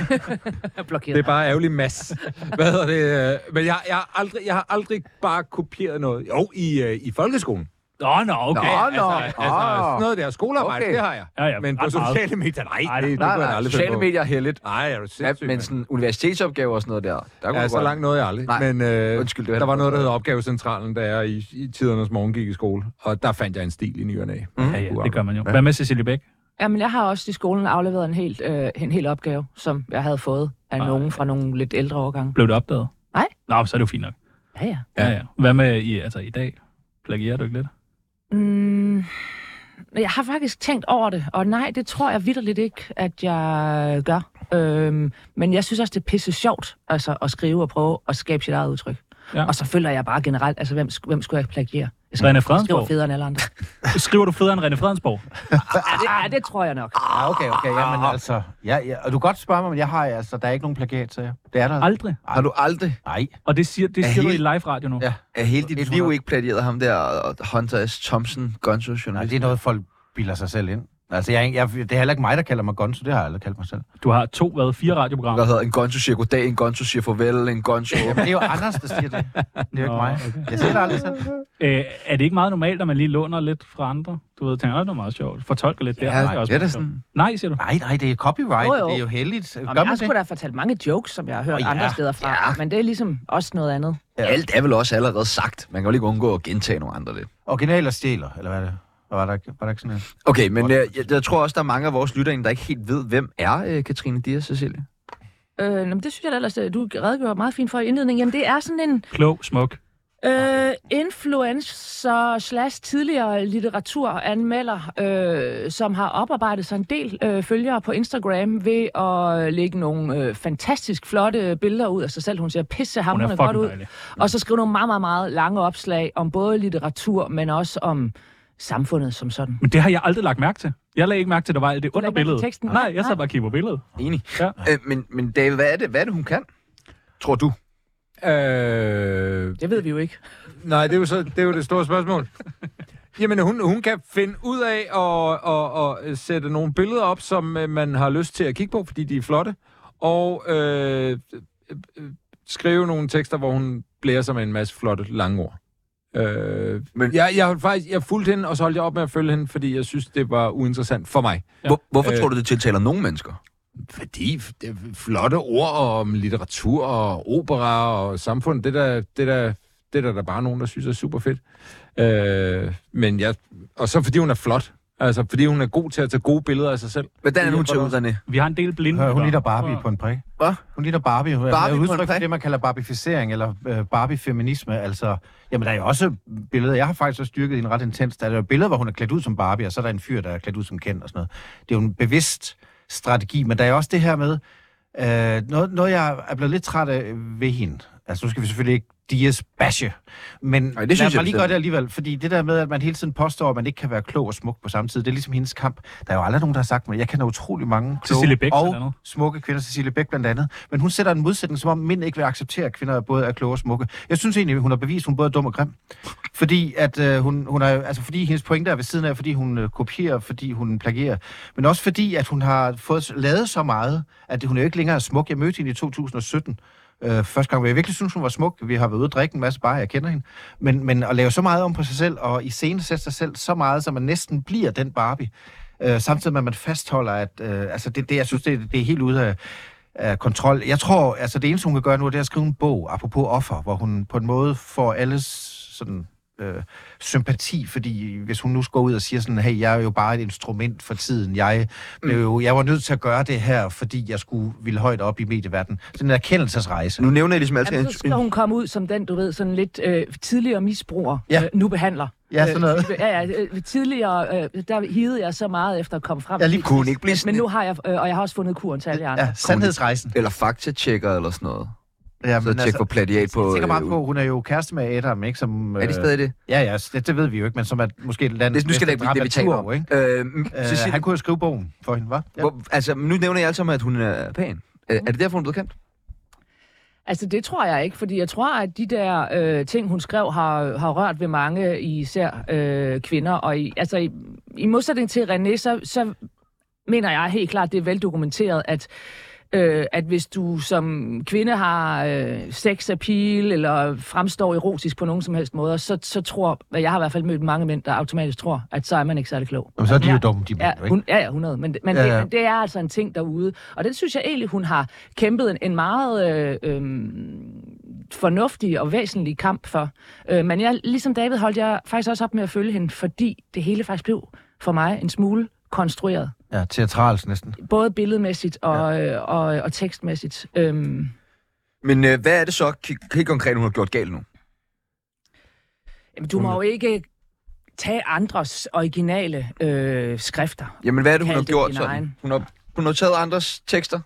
Jeg blokerer
Det er bare ærgerlig mas. Hvad hedder det? øh, Men jeg, jeg, har aldrig, jeg har aldrig bare kopieret noget. Jo, i, øh, i folkeskolen.
Nå, nå, okay.
Nå, nå.
Altså, altså sådan noget der skolearbejde,
Okay.
det har jeg.
Ja, ja,
Men på
ret meget.
sociale medier, nej,
Nej,
det, det
nej,
kunne jeg
nej,
aldrig
sociale
finde på.
medier er heldigt.
Nej, er du sindssyg,
Ja, men sådan universitetsopgaver og sådan noget der, der kunne
Ja,
du
så
godt-
langt nåede jeg aldrig.
Nej,
men øh,
undskyld, det var
der var
heller-
noget, der hed Opgavecentralen, da jeg i, i tidernes morgen gik i skole. Og der fandt jeg en stil i ny og næ.
Ja, ja, det gør man jo. Hvad med Cecilie Bæk?
Jamen, jeg har også i skolen afleveret en helt, øh, en hel opgave, som jeg havde fået af
Ej.
nogen fra nogle lidt ældre årgange.
Blev det opdaget?
Nej.
Nå, så er det jo fint nok.
Ja, ja.
Ja, ja. Hvad med i, altså, i dag? Plagierer du ikke lidt?
Mm, jeg har faktisk tænkt over det, og nej, det tror jeg vidderligt ikke, at jeg gør. Øhm, men jeg synes også, det er pisse sjovt altså, at skrive og prøve at skabe sit eget udtryk.
Ja.
Ja. Og så føler jeg bare generelt, altså hvem, sk- hvem skulle jeg plagiere? Jeg
René
skriver
Fredensborg?
federe end alle andre.
Skriver du federe end René Fredensborg?
Ja, det tror jeg nok.
Ah, okay, okay. Jamen altså, ja, ja, og du kan godt spørge mig, men jeg har altså, der er ikke nogen plakat til jer. Det er der.
Aldrig.
Har du aldrig
Nej.
Og det siger, det
Ja,
siger du i
helt-
live radio nu?
Ja.
af hele dit
100.
liv ikke pladieret ham der og Hunter S. Thompson, gonzo
Nej,
journalist?
det er noget, folk bilder sig selv ind. Altså, jeg, er ikke- jeg, det er heller ikke mig, der kalder mig Gonzo. Det har jeg aldrig kaldt mig selv.
Du har to, hvad? Fire
Hvad
radioprogrammer?
hedder en gonzo siger goddag, en gonzo siger farvel, en gonzo...
Jamen, det er jo Anders, der siger det. Det er jo
Nå,
ikke mig.
okay.
Jeg siger det aldrig selv.
Øh, er det ikke meget normalt, at man lige låner lidt fra andre? Du ved, tænker, "Åh, det er meget sjovt. Fortolker lidt der.
Ja,
er
ja, det er
meget
sådan.
sjovt." Nej, siger du.
Nej, nej, det er copyright.
Jo, jo.
Det er jo heldigt. Gør
Jamen, jeg har
man
sgu
det?
da fortalt mange jokes, som jeg har hørt
Åh,
oh,
ja.
ja. andre steder fra,
Ja.
ja. men det er ligesom også noget andet.
Alt er vel også allerede sagt. Man kan jo ikke undgå at gentage nogle andre lidt.
Originaler stjæler, eller hvad er det? Hvad Var der, ikke- var der ikke sådan noget?
Okay, men øh, jeg, jeg, jeg tror også, der er mange af vores lyttere, der ikke helt ved, hvem er øh, Katrine Dias, Cecilie?
Øh, nå, men det synes jeg da ellers, øh, du redegjorde meget fint for i indledningen. Jamen, det er sådan en
Klog, smuk.
Øh, influencer slash tidligere litteraturanmelder, øh, som har oparbejdet sig en del øh, følgere på Instagram ved at lægge nogle øh, fantastisk flotte billeder ud af sig selv. Hun ser pisse
Hun er
hamrende godt
fucking
ud.
dejlig.
Og så skrive nogle meget, meget, meget lange opslag om både litteratur, men også om samfundet som sådan.
Men det har jeg aldrig lagt mærke til. Jeg lagde ikke mærke til, at der var alt det
lagde
under
ikke mærke til
billedet.
teksten?
Nej, jeg sad
Nej.
bare og kiggede på billedet.
Enig.
Ja.
Øh, men, men David, hvad er, det, hvad er det, hun kan? Tror du?
Øh,
Det ved vi jo ikke.
nej, det er, jo så, det er jo det store spørgsmål. Jamen, hun, hun kan finde ud af at, at, at, at sætte nogle billeder op, som øh, man har lyst til at kigge på, fordi de er flotte, og øh, øh, øh, skrive nogle tekster, hvor hun blærer sig med en masse flotte lange ord. Øh, Men...
Men-
jeg, jeg, holdt faktisk, jeg fulgte hende, og så holdt jeg op med at følge hende, fordi jeg synes, det var uinteressant for mig.
Hvor, hvorfor
Øh.
tror du, det tiltaler nogle mennesker?
Fordi f- det er flotte ord om litteratur og opera og samfund, det der, det der, det der, der bare nogen, der synes er super fedt. Øh, men jeg, og så fordi hun er flot. Altså, fordi hun er god til at tage gode billeder af sig selv.
Hvordan er
Det
hun til
hjælper
ud, René?
Vi har en del blinde.
Hør, hun
lyttere.
ligner Barbie på en prik.
Hvad?
Hun ligner Barbie. Hun
Barbie
er
på
et
en
udtryk for
prik?
det, man kalder barbificering, eller øh, Barbie-feminisme. Altså, jamen, der er jo også billeder. Jeg har faktisk også styrket en ret intens. Der er jo billeder, hvor hun er klædt ud som Barbie, og så er der en fyr, der er klædt ud som Ken og sådan noget. Det er jo en bevidst strategi, men der er også det her med, øh, noget, noget, jeg er blevet lidt træt af ved hende. Altså, nu skal vi selvfølgelig ikke dias bashe, men
det synes jeg
lad mig lige
bestemt.
gøre det alligevel, fordi det der med, at man hele tiden påstår, at man ikke kan være klog og smuk på samme tid, det er ligesom hendes kamp. Der er jo aldrig nogen, der har sagt mig, jeg kender utrolig mange
Cecilie
kloge
Bech blandt andet.
og smukke kvinder, Cecilie Bæk blandt andet. Men hun sætter en modsætning, som om mænd ikke vil acceptere, at kvinder både er kloge og smukke. Jeg synes egentlig, hun har bevist, at hun både er dum og grim. Fordi, at, øh, hun, hun er, altså, fordi hendes pointe er ved siden af, fordi hun øh, kopierer, fordi hun plagierer. Men også fordi, at hun har fået lavet så meget, at hun er jo ikke længere smuk. Jeg mødte hende i 2017. Øh, første gang, hvor jeg virkelig synes, hun var smuk. Vi har været ude og drikke en masse bare, jeg kender hende. Men, men at lave så meget om på sig selv, og i scene sætte sig selv så meget, så man næsten bliver den Barbie. Øh, samtidig med, at man fastholder, at øh, altså det, det, jeg synes, det, det er helt ude af, af kontrol. Jeg tror, altså det eneste, hun kan gøre nu, det er at skrive en bog, apropos offer, hvor hun på en måde får alles sådan, øh, sympati, fordi hvis hun nu går ud og siger sådan, hey, jeg er jo bare et instrument for tiden, jeg,
Mm.
blev, jo, jeg var nødt til at gøre det her, fordi jeg skulle ville højt op i medieverdenen. Sådan en erkendelsesrejse.
Nu nævner jeg ligesom altid...
Jamen, så skal hun komme ud som den, du ved, sådan lidt øh, tidligere misbruger, ja.
Ja.
øh, nu behandler.
Ja, sådan noget.
Øh, ja, ja, øh, tidligere, øh, der hivede jeg så meget efter at komme frem.
Ja, lige
til-
kunne hun ikke blive
Men
sådan
nu har jeg, øh, og jeg har også fundet kuren til alle jer andre.
Ja, sandhedsrejsen.
eller faktatjekker eller sådan noget.
Ja, altså,
Så tjek for plagiat på...
Jeg tænker meget
øh,
på, hun er jo kæreste med Adam, ikke? Som, øh,
Er det stadig det?
Ja, ja, s- det, det ved vi jo ikke, men som er måske landets
det nu skal det ikke blive det, vi taler om.
Ikke?
Øh,
Øh,
Cecilie,
han kunne jo skrive bogen for hende, hva'? Ja.
hvor, altså, nu nævner jeg altså, at hun er pæn. Øh, Er det derfor, hun er blevet kendt?
Altså, det tror jeg ikke, fordi jeg tror, at de der øh, ting, hun skrev, har, har rørt ved mange, især øh, kvinder. Og i, altså, i, i modsætning til René, så, så mener jeg helt klart, det er veldokumenteret, at, øh, at hvis du som kvinde har øh, sex appeal, eller fremstår erotisk på nogen som helst måde, så, så tror, hvad jeg har i hvert fald mødt mange mænd, der automatisk tror, at så er man ikke særlig klog.
Jamen, så er de jo
Ja.
dumme, de mænd,
Ja,
jo, ikke?
hun, ja, ja, 100. Men, men,
Ja,
ja,
ja.
ja. Det, men det er altså en ting derude. Og den synes jeg egentlig, hun har kæmpet en, en meget øh, øh, fornuftig og væsentlig kamp for. Øh, men jeg, ligesom David holdt jeg faktisk også op med at følge hende, fordi det hele faktisk blev for mig en smule konstrueret.
Ja, teatralsk næsten.
Både billedmæssigt og, ja. og, og, og tekstmæssigt. Øhm,
Men øh, hvad er det så k- helt konkret, hun har gjort galt nu?
jamen, du må jo ikke tage andres originale øh, skrifter.
Jamen, hvad er det, hun
Kald
har
det
gjort
din
sådan?
egen.
Hun har, hun har taget andres tekster.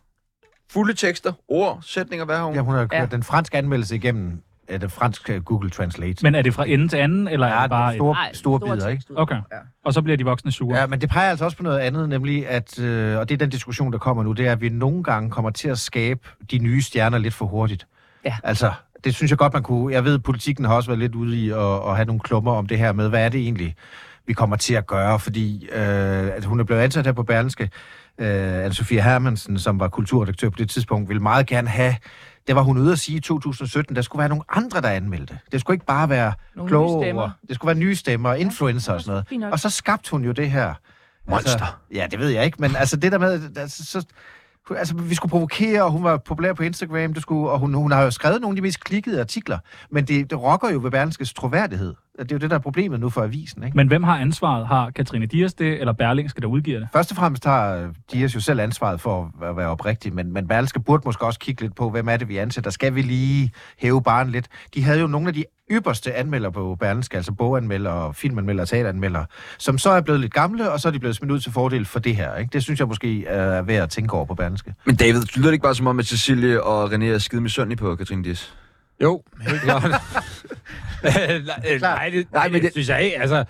Fulde tekster, ord, sætninger, hvad har hun?
Ja, hun har kørt
Ja.
den franske anmeldelse igennem af det franske Google Translate.
Men er det fra ende til anden, eller er
ja,
det bare...
bare
et-
store,
Nej,
store
store
bidder, ikke?
tekstudsnit.
Okay.
Ja.
Og så bliver de voksne sure.
Ja, men det peger altså også på noget andet, nemlig at, øh, og det er den diskussion, der kommer nu, det er, at vi nogle gange kommer til at skabe de nye stjerner lidt for hurtigt.
Ja.
Altså, det synes jeg godt, man kunne... Jeg ved, at politikken har også været lidt ude i at, at have nogle klummer om det her med, hvad er det egentlig, vi kommer til at gøre, fordi øh, at hun er blevet ansat her på Berlinske. Øh, Anne-Sophie Hermansen, som var kulturredaktør på det tidspunkt, ville meget gerne have... Det var hun ude at sige i 2017, der skulle være nogle andre, der anmeldte. Det skulle ikke bare være
Nogle nye
kloge
stemmer.
ord. Det skulle være nye stemmer, influencer og
også
sådan noget.
fint nok.
Og så skabte hun jo det her... Monster. Altså, ja, det ved jeg ikke, men altså det der med... Altså, så, altså, vi skulle provokere, og hun var populær på Instagram, det skulle, og hun, hun har jo skrevet nogle af de mest klikkede artikler, men det, det rokker jo ved Berlingskes troværdighed. Det er jo det, der er problemet nu for avisen, ikke?
Men hvem har ansvaret? Har Katrine Dias det, eller Berlingske, der udgiver det?
Først og fremmest har øh, Dias jo selv ansvaret for at være oprigtig, men, men Berlske burde måske også kigge lidt på, hvem er det, vi ansætter. Skal vi lige hæve barn lidt? De havde jo nogle af de ypperste anmeldere på Berlske, altså boganmeldere, filmanmeldere, teateranmeldere, som så er blevet lidt gamle, og så er de blevet smidt ud til fordel for det her. Ikke? Det synes jeg måske er værd at tænke over på Berlske.
Men David, lyder det ikke bare som om, at Cecilie og René er skide misundelige på Katrine Dias?
Jo, helt klart. Øh, nej, øh, nej, det, nej, men det synes jeg ikke. Altså,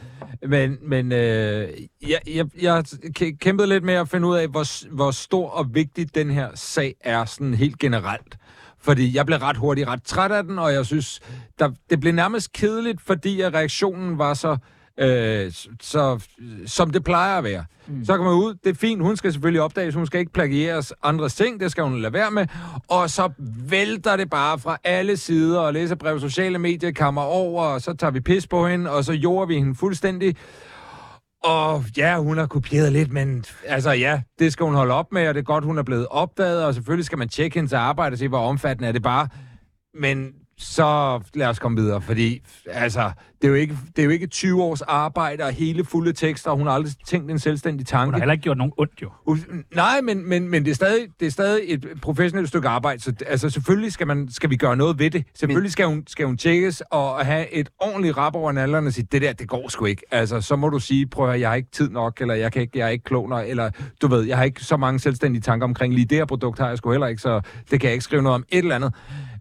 men men øh, jeg, jeg, jeg har kæ- kæmpet lidt med at finde ud af, hvor, s- hvor stor og vigtig den her sag er sådan helt generelt. Fordi jeg blev ret hurtigt ret træt af den, og jeg synes, der, det blev nærmest kedeligt, fordi at reaktionen var så Øh, s- så, som det plejer at være. Mm. Så kommer man ud, det er fint, hun skal selvfølgelig opdages, hun skal ikke plagieres andres ting, det skal hun lade være med, og så vælter det bare fra alle sider, og læserbrev, sociale medier kammer over, og så tager vi pis på hende, og så jorder vi hende fuldstændig, og ja, hun har kopieret lidt, men altså ja, det skal hun holde op med, og det er godt, hun er blevet opdaget, og selvfølgelig skal man tjekke hendes arbejde og se, hvor omfattende er det bare. Men så lad os komme videre, fordi altså, det er jo ikke, det er jo ikke 20 års arbejde og hele fulde tekster, og hun har aldrig tænkt en selvstændig
Hun har
tanke.
heller ikke gjort nogen ondt, jo.
Ud- Nej, men, men, men det, er stadig, det er stadig et professionelt stykke arbejde, så altså, selvfølgelig skal, man, skal vi gøre noget ved det. Selvfølgelig skal hun, skal hun tjekkes og, og have et ordentligt rap over nallerne og sige, det der, det går sgu ikke. Altså, så må du sige, prøv at høre, jeg har ikke tid nok, eller jeg, kan ikke, jeg er ikke klog nok, eller du ved, jeg har ikke så mange selvstændige tanker omkring lige det her produkt har jeg sgu heller ikke, så det kan jeg ikke skrive noget om et eller andet.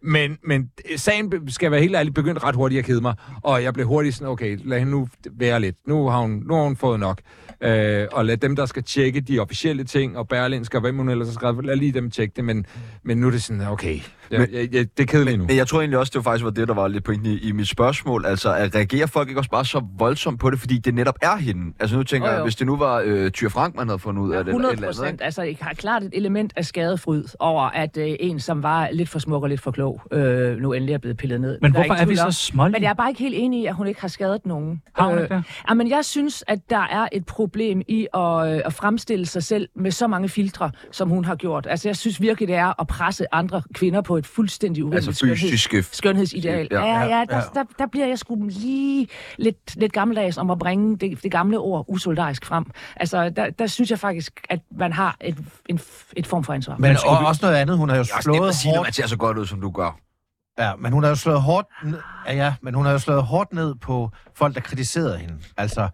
Men, men øh, sagen be- skal jeg være helt ærlig, begyndte ret hurtigt at kede mig, og jeg blev hurtigt sådan, okay, lad hende nu være lidt. Nu har hun, nu har hun fået nok. Øh, og lad dem, der skal tjekke de officielle ting, og Berlinske, og hvem hun ellers har skrevet, lad lige dem tjekke det, men, men nu er det sådan, okay,
Men-
jeg, men, jeg, jeg, det er kedeligt nu.
Men jeg tror egentlig også, det var faktisk var det, der var lidt pointen i, i mit spørgsmål. Altså, at reagerer folk ikke også bare så voldsomt på det, fordi det netop er hende? Altså, nu tænker
Jo,
oh,
jo.
jeg, hvis det nu var øh, Tyr Frank, man havde fundet ud af det, eller et
100
eller andet,
procent.
ikke?
Altså, jeg har klart et element af skadefryd over, at øh, en, som var lidt for smuk og lidt for klog, øh, nu endelig er blevet pillet ned.
Men
Der
hvorfor
ikke
er vi
tvivl
så
om-
smålige?
Men jeg er bare ikke helt enig i, at hun ikke har skadet nogen.
Har hun ikke det?
jamen, jeg synes, at der er et problem i at, øh, at fremstille sig selv med så mange filtre, som hun har gjort. Altså, jeg synes virkelig, det er at presse andre kvinder på et fuldstændig urimeligt
Altså, fysiske...
skønhedsideal. Ja,
Ja,
ja, ja,
ja,
der,
ja.
der, der bliver jeg sgu lige lidt, lidt gammeldags om at bringe det, det gamle ord usoldarisk frem. Altså, der, der synes jeg faktisk, at man har et, en, et form for ansvar.
Men og, også noget andet, hun har jo
Det er også nemt
slået
at sige, når man
hårdt...
ser så godt ud, som du gør.
Ja, men hun har jo slået hårdt... n- Ja, ja, men hun har jo slået hårdt ned på folk, der kritiserede hende. Altså,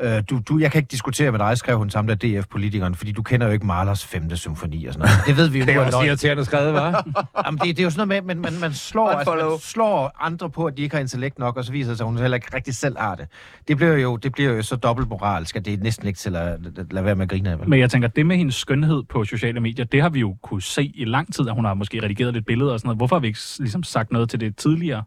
øh, du, du, jeg kan ikke diskutere med dig, skrev hun sammen med DF-politikeren, fordi du kender jo ikke Mahlers 5. symfoni og sådan noget. Det ved vi jo
Det
nu
er
er
også
løgn.
irriterende skrevet, hva'?
Jamen, det, det er jo sådan noget med, at man, man, man, slår, altså,
Unfollow.
man slår andre på, at de ikke har intellekt nok, og så viser det sig, at hun heller ikke rigtig selv har det. Det bliver jo, det bliver jo så dobbeltmoralsk, at det er næsten ikke til at at lade være med at grine af. vel?
Men jeg tænker, det med hendes skønhed på sociale medier, det har vi jo kunne se i lang tid, at hun har måske redigeret lidt billeder og sådan noget. Hvorfor har vi ikke s- ligesom sagt noget til det tidligere?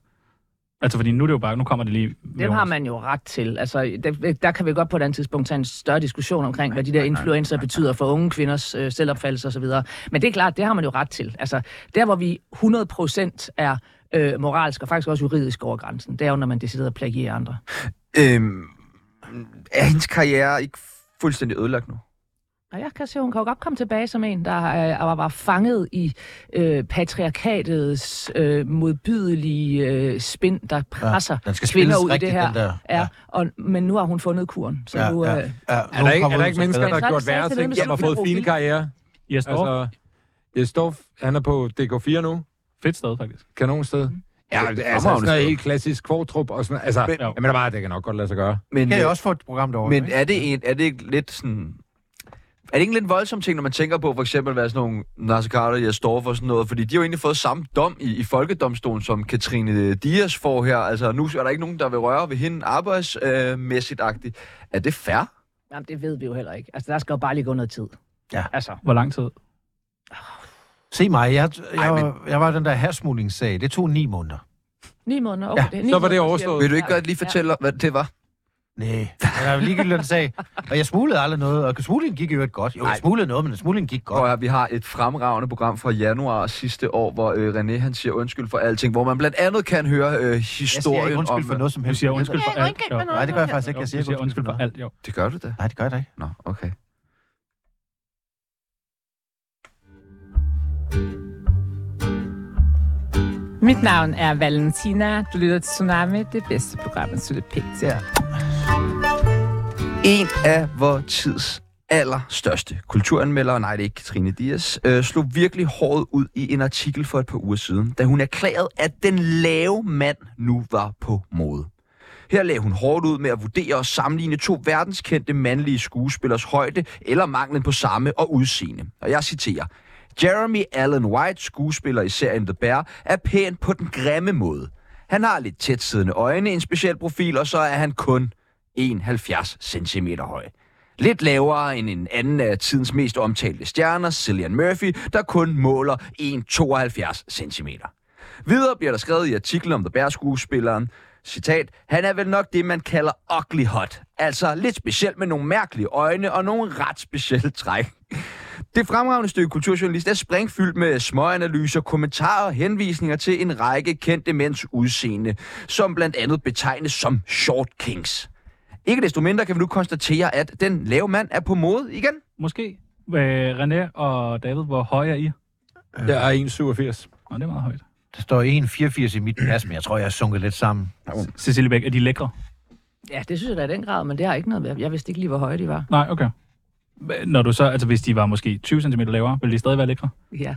Altså, fordi nu er det jo bare, nu kommer det lige... med
Dem har
Jonas.
man jo ret til. Altså, der, der kan vi godt på et andet tidspunkt tage en større diskussion omkring, hvad de der influencer betyder for unge kvinders øh, selvopfattelse osv. Men det er klart, det har man jo ret til. Altså, der hvor vi 100% er øh, moralsk og faktisk også juridisk over grænsen, det er jo, når man deciderer at plagierer andre.
Øhm, er hendes karriere ikke fuldstændig ødelagt nu?
Og jeg kan se, hun kan jo godt komme tilbage som en, der øh, var, var fanget i øh, patriarkatets øh, modbydelige øh, spind, der presser ja,
den skal
kvinder
spilles
ud i det
rigtigt,
her.
den der.
Ja.
Ja.
Og, men nu har hun fundet kuren, så ja, nu... Øh, ja.
ja.
Er der ikke, er der
mennesker,
ikke mennesker, der
Men så
har
er
gjort
det sagt
værre
til
ting,
dem,
som
som
har fået
Peter
fine
Brofield?
karriere?
Jeg står altså...
Altså, Jesdorf, han er på DK4 nu.
fedt sted, faktisk.
Kanonsted.
Mhm.
Ja,
det
det
er
er altså sådan
fremragende
noget helt klassisk kvortrup og sådan noget. Altså,
Men-
men, jamen, der bare, det kan nok godt lade sig gøre.
Men,
Kan jeg
øh,
også få et program derovre?
Men
ikke?
er det, en, er det ikke lidt sådan... Er det ikke en lidt voldsom ting, når man tænker på for eksempel, hvad sådan nogle Nasser Carter, jeg står for sådan noget, fordi de har jo egentlig fået samme dom i, i folkedomstolen, som Katrine Dias får her. Altså, nu er der ikke nogen, der vil røre ved hende arbejdsmæssigt-agtigt. Er det fair?
Jamen, det ved vi jo heller ikke. Altså, der skal jo bare lige gå noget tid.
Ja.
Altså,
Hvor lang tid?
Se mig, jeg, jeg, Ej, men... jeg var den der hersmuglingssag. Det tog ni måneder.
ni måneder. Okay, ja, det er ni
så var det
måneder,
overstået.
siger vi.
Vil du ikke
Ja.
godt lige fortælle, hvad det var?
Nej, jeg var ligegyldigt, hvad den sagde. Og jeg smuglede aldrig noget, og smuglingen gik jo godt. Jo, jeg smuglede noget, men smuglingen gik
Prøv at
godt.
høre, vi har et fremragende program fra januar sidste år, hvor øh, René han siger undskyld for alting, hvor man blandt andet kan høre øh,
Jeg siger
historien
ikke undskyld
om... øh,
for noget som
Du
helst.
siger undskyld for alt. Jo.
Nej, det gør jeg faktisk ikke.
Jo,
Jeg
du
siger,
siger undskyld for
noget.
alt, jo.
Det gør du da.
Nej, det gør jeg da ikke.
Nå, okay.
Mit navn er Valentina. Du lytter til Tsunami, det bedste program, man slutter pænt til.
En af vor tids allerstørste kulturanmeldere, nej det er ikke Katrine Dias, øh, slog virkelig håret ud i en artikel for et par uger siden, da hun erklærede, at den lave mand nu var på mode. Her lagde hun hårdt ud med at vurdere og sammenligne to verdenskendte mandlige skuespillers højde eller manglen på samme og udseende. Og jeg citerer. Jeremy Allen White, skuespiller i serien The Bear, er pæn på den grimme måde. Han har lidt tætsiddende øjne, en speciel profil, og så er han kun 71 cm høj. Lidt lavere end en anden af tidens mest omtalte stjerner, Cillian Murphy, der kun måler 1,72 cm. Videre bliver der skrevet i artiklen om The Bear-skuespilleren,
citat, han er vel nok det, man kalder ugly hot. Altså lidt speciel med nogle mærkelige øjne og nogle ret specielle træk. Det fremragende stykke kulturjournalist er springfyldt med småanalyser, kommentarer og henvisninger til en række kendte mænds udseende, som blandt andet betegnes som short kings. Ikke desto mindre kan vi nu konstatere, at den lave mand er på mode igen.
Måske. Øh, René og David, hvor høje er I?
Jeg er 1,87.
Nå, det er meget højt.
Der står 1,84 i mit pas, men jeg tror, jeg er sunket lidt sammen.
Cecilie Bæk, er de lækre?
Ja, det synes jeg da i den grad, men det har ikke noget med. Jeg vidste ikke lige, hvor høje de var.
Nej, okay. Hva- Når du så, altså hvis de var måske 20 cm lavere, ville de stadig være lækre?
Ja,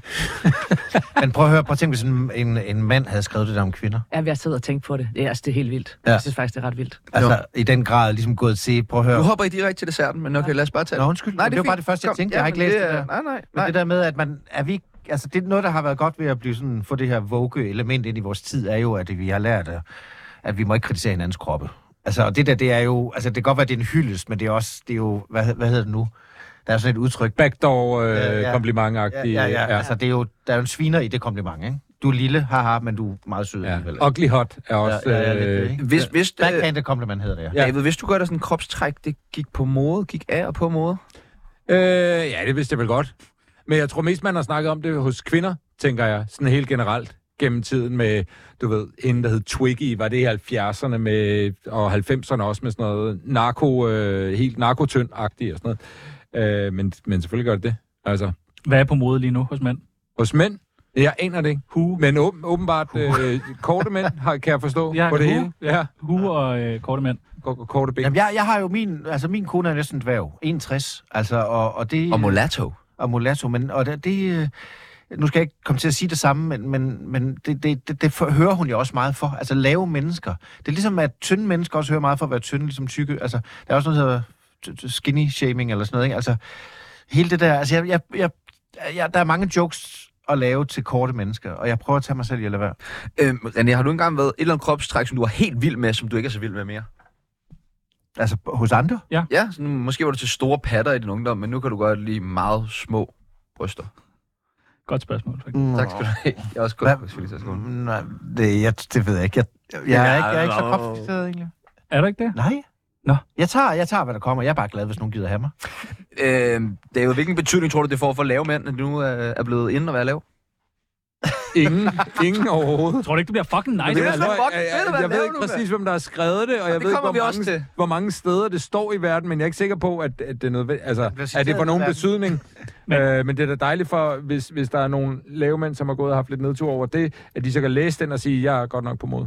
Men prøv at høre, prøv at tænke, hvis en, en, en mand havde skrevet det der om kvinder.
jeg har siddet og tænkt på det. Det er, altså, det er helt vildt.
Ja.
Ja. Jeg synes faktisk, det er ret vildt.
Altså, i den grad ligesom gået til, prøv at
Nu
høre.
hopper I direkte til desserten, men okay, lad os bare tage
Nå, undskyld,
Nej,
Nej,
det
det,
er
det var bare
fint.
det første, jeg
Kom,
tænkte.
ja,
jeg har ikke
men
læst det,
det er-
der.
nej, nej,
Men
nej.
det der med, at man, er vi ikke, altså det er noget, der har været godt ved at blive sådan, få det her vogue element ind i vores tid, er jo, at vi har lært, at, at vi må ikke kritisere hinandens kroppe. Altså, og det der, det er jo, altså det kan godt være, det er en hyldest, men det er også, det er jo, hvad, hvad hedder det nu? Der er sådan et udtryk.
Backdoor øh,
Ja,
ja,
ja.
ja.
Ja,
komplimentagtigt.
ja, ja. Altså, det er jo, der er jo en sviner i det kompliment, ikke? Du er lille, haha, men du er meget sød.
ja.
alligevel.
Ugly hot er også...
ja, ja, lidt det,
øh,
ikke?
Hvis, hvis, øh,
Backhanded compliment hedder det, ja.
Ja.
David, hvis du gør der sådan en kropstræk, det gik på mode, gik af og på mode.
Øh, ja, det vidste jeg vel godt. Men jeg tror mest, man har snakket om det hos kvinder, tænker jeg, sådan helt generelt gennem tiden med, du ved, en der hed Twiggy, var det i 70'erne med, og 90'erne også med sådan noget narko, øh, helt narkotynd-agtigt og sådan noget. Øh, men, men selvfølgelig gør det det. Altså,
Hvad er på mode lige nu hos mænd?
hos mænd, jeg aner det ikke. Hue. Men åben, åbenbart øh, korte mænd, har, kan jeg forstå
Ja,
på det
hue.
hele. Ja,
Hue og øh, korte mænd.
K- korte ben.
Jamen, jeg, jeg har jo min, altså min kone er næsten dværg, 61, altså, og, og det...
Og mulatto.
og mulatto, men og det, det, øh, nu skal jeg ikke komme til at sige det samme, men, men, men det, det, det, det for, hører hun jo også meget for. Altså lave mennesker. Det er ligesom, at tynde mennesker også hører meget for at være tynde, ligesom tykke. Altså, der er også noget, der hedder t- t- skinny shaming eller sådan noget, ikke? Altså, hele det der, altså, jeg, jeg, jeg, jeg, der er mange jokes at lave til korte mennesker, og jeg prøver at tage mig selv i at lade være.
Øhm, René, har du engang været et eller andet kropstræk, som du var helt vild med, som du ikke er så vild med mere?
Altså, hos andre?
Ja, sådan, måske var du til store patter i din ungdom, men nu kan du godt lide meget små bryster.
Godt spørgsmål, faktisk.
Mm.
Tak skal du have. Jeg er også
Hvad?
godt, skulle jeg lige til at skåle.
Mm, Nej, det, jeg, det ved jeg ikke. Jeg, jeg, jeg, er, ikke, jeg er ikke så kropsfixeret, egentlig.
Er du ikke det?
Nej.
Nå.
Jeg tager, jeg tager, hvad der kommer. Jeg er bare glad, hvis nogen gider have mig.
Øhm, David, hvilken betydning tror du, det får for lave mænd, at du nu er, er blevet inde og være lav?
Ingen, ingen overhovedet.
Tror du ikke, det bliver fucking nice?
det er
Jeg,
så
jeg,
fucking
jeg,
fedt, hvad
jeg, jeg ved
laver
ikke
du, mand?
præcis, hvem der har skrevet det, og jeg
det
ved ikke,
kommer
hvor
vi også
mange
til.
hvor mange steder det står i verden, men jeg er ikke sikker på, at, at det er nødvendigt. Altså,
bliver
er det
citeret
for
i
nogen
verden.
betydning? men, øh, men det er da dejligt for, hvis, hvis der er nogle lave mænd, som har gået og haft lidt nedtur over det, at de så kan læse den og sige, jeg er godt nok på mod.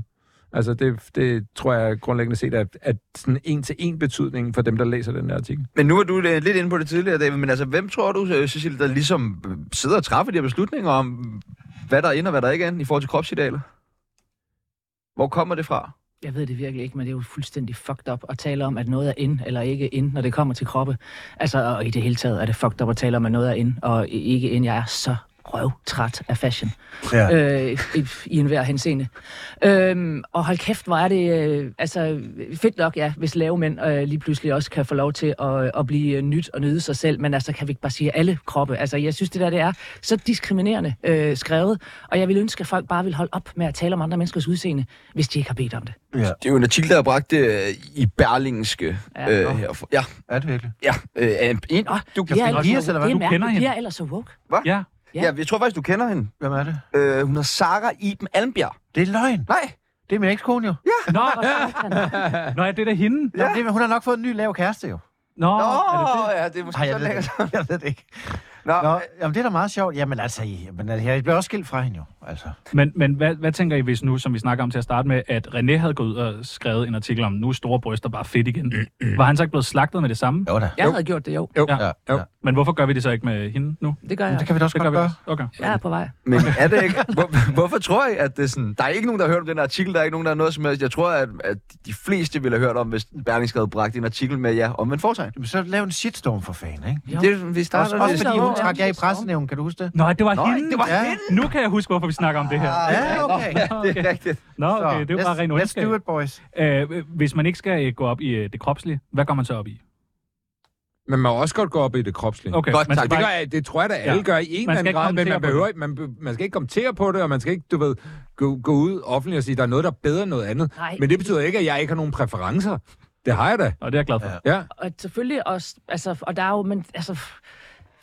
Altså, det, det tror jeg grundlæggende set, at, at sådan en til en betydning for dem, der læser den her artikel.
Men nu er du øh, lidt inde på det tidligere, David, men altså, hvem tror du, øh, Cecilie, der ligesom øh, sidder og træffer de her beslutninger om, hvad der er inde og hvad der ikke er inde i forhold til kropsidealer? Hvor kommer det fra?
Jeg ved det virkelig ikke, men det er jo fuldstændig fucked up at tale om, at noget er ind eller ikke ind, når det kommer til kroppe. Altså, og i det hele taget er det fucked up at tale om, at noget er ind og i- ikke ind. Jeg er så røvtræt af fashion.
Ja.
Øh, i, I enhver henseende. Øhm, og hold kæft, hvor er det øh, altså, fedt nok, ja, hvis lave mænd øh, lige pludselig også kan få lov til at, at blive øh, nyt og nyde sig selv. Men altså, kan vi ikke bare sige alle kroppe? Altså, jeg synes, det der det er så diskriminerende øh, skrevet. Og jeg vil ønske, at folk bare vil holde op med at tale om andre menneskers udseende, hvis de ikke har bedt om det.
Øh.
Det er jo en artikel, der er bragt øh, i Berlingske
Ja,
øh,
nå.
herfor. Ja,
Er det virkelig?
ja. Øh, er en, en,
Nå,
du,
Det er
Katrine
ellers
Dias,
så-
eller hvad?
det er
Du kender
mærkeligt.
hende.
De er ellers så woke.
Ja.
ja. ja, jeg tror faktisk, du kender hende.
Hvem er det?
Øh, hun hedder Sara Iben Almbjerg.
Det er løgn.
Nej,
Det er min ekskone jo. Ja.
Nå,
Og satan.
nå, er det da hende?
Jamen, det, er- hun har nok fået en ny lav kæreste jo.
Nå,
Nå,
er det det?
ja, det er måske
Nej, jeg
så
ved det
lækkert.
ikke. Jeg ved det ikke.
Nå,
Nå, jamen, det er da meget sjovt. Jamen altså, jamen, altså, jeg bliver også skilt fra hende jo. Altså.
Men, men hvad, hvad tænker I, hvis nu, som vi snakker om til at starte med, at René havde gået ud og skrevet en artikel om, nu er store bryster bare fedt igen. Var han så ikke blevet slagtet med det samme?
Jo da.
Jeg havde gjort det, jo.
Jo,
Ja.
ja. jo.
Men hvorfor gør vi det så ikke med hende nu?
Det gør jeg.
Det kan vi da også
Det gør
godt
vi
gøre.
også. Okay.
Jeg er på vej.
men er det ikke... Hvor, hvorfor tror jeg, at det er sådan... Der er ikke nogen, der har hørt om den artikel, der er ikke nogen, der har noget som helst. Jeg tror, at, at de fleste ville have hørt om, hvis Berlingske havde bragt en artikel med, ja, om en fortegn.
Jamen, så lav en shitstorm for fanden, ikke?
Jo.
Det, vi
Også,
starter
også
lidt.
fordi hun
Ja.
trak jer i pressenævnen, kan du huske det?
Nå, det var
Nå,
hende.
det var
Ja.
hende! Ah,
Nu kan jeg huske, hvorfor vi snakker om det her.
Ja, okay.
Nå,
Det er
okay.
rigtigt.
Nå, okay. Det er jo bare ren
let's do
ondskab.
it, boys.
Øh, Hvis man ikke skal øh, gå op i øh, det kropslige, hvad går man så op i?
Men man må også godt gå op i det kropslige.
Okay,
Godt,
man
tak.
skal
Det,
bare
gør, jeg- det tror jeg da alle
Ja.
ja. gør i en
Man skal
eller anden
ikke
grad, men
kommentere
man,
på
behøver, ikke- man, be- man skal ikke kommentere på det, og man skal ikke, du ved, gå, gå ud offentligt og sige, der er noget, der er bedre end noget andet.
Nej.
Men det betyder ikke, at jeg ikke har nogen præferencer. Det har jeg da.
Og det er jeg glad for.
Ja.
og selvfølgelig også, altså, og der er jo, men altså, f-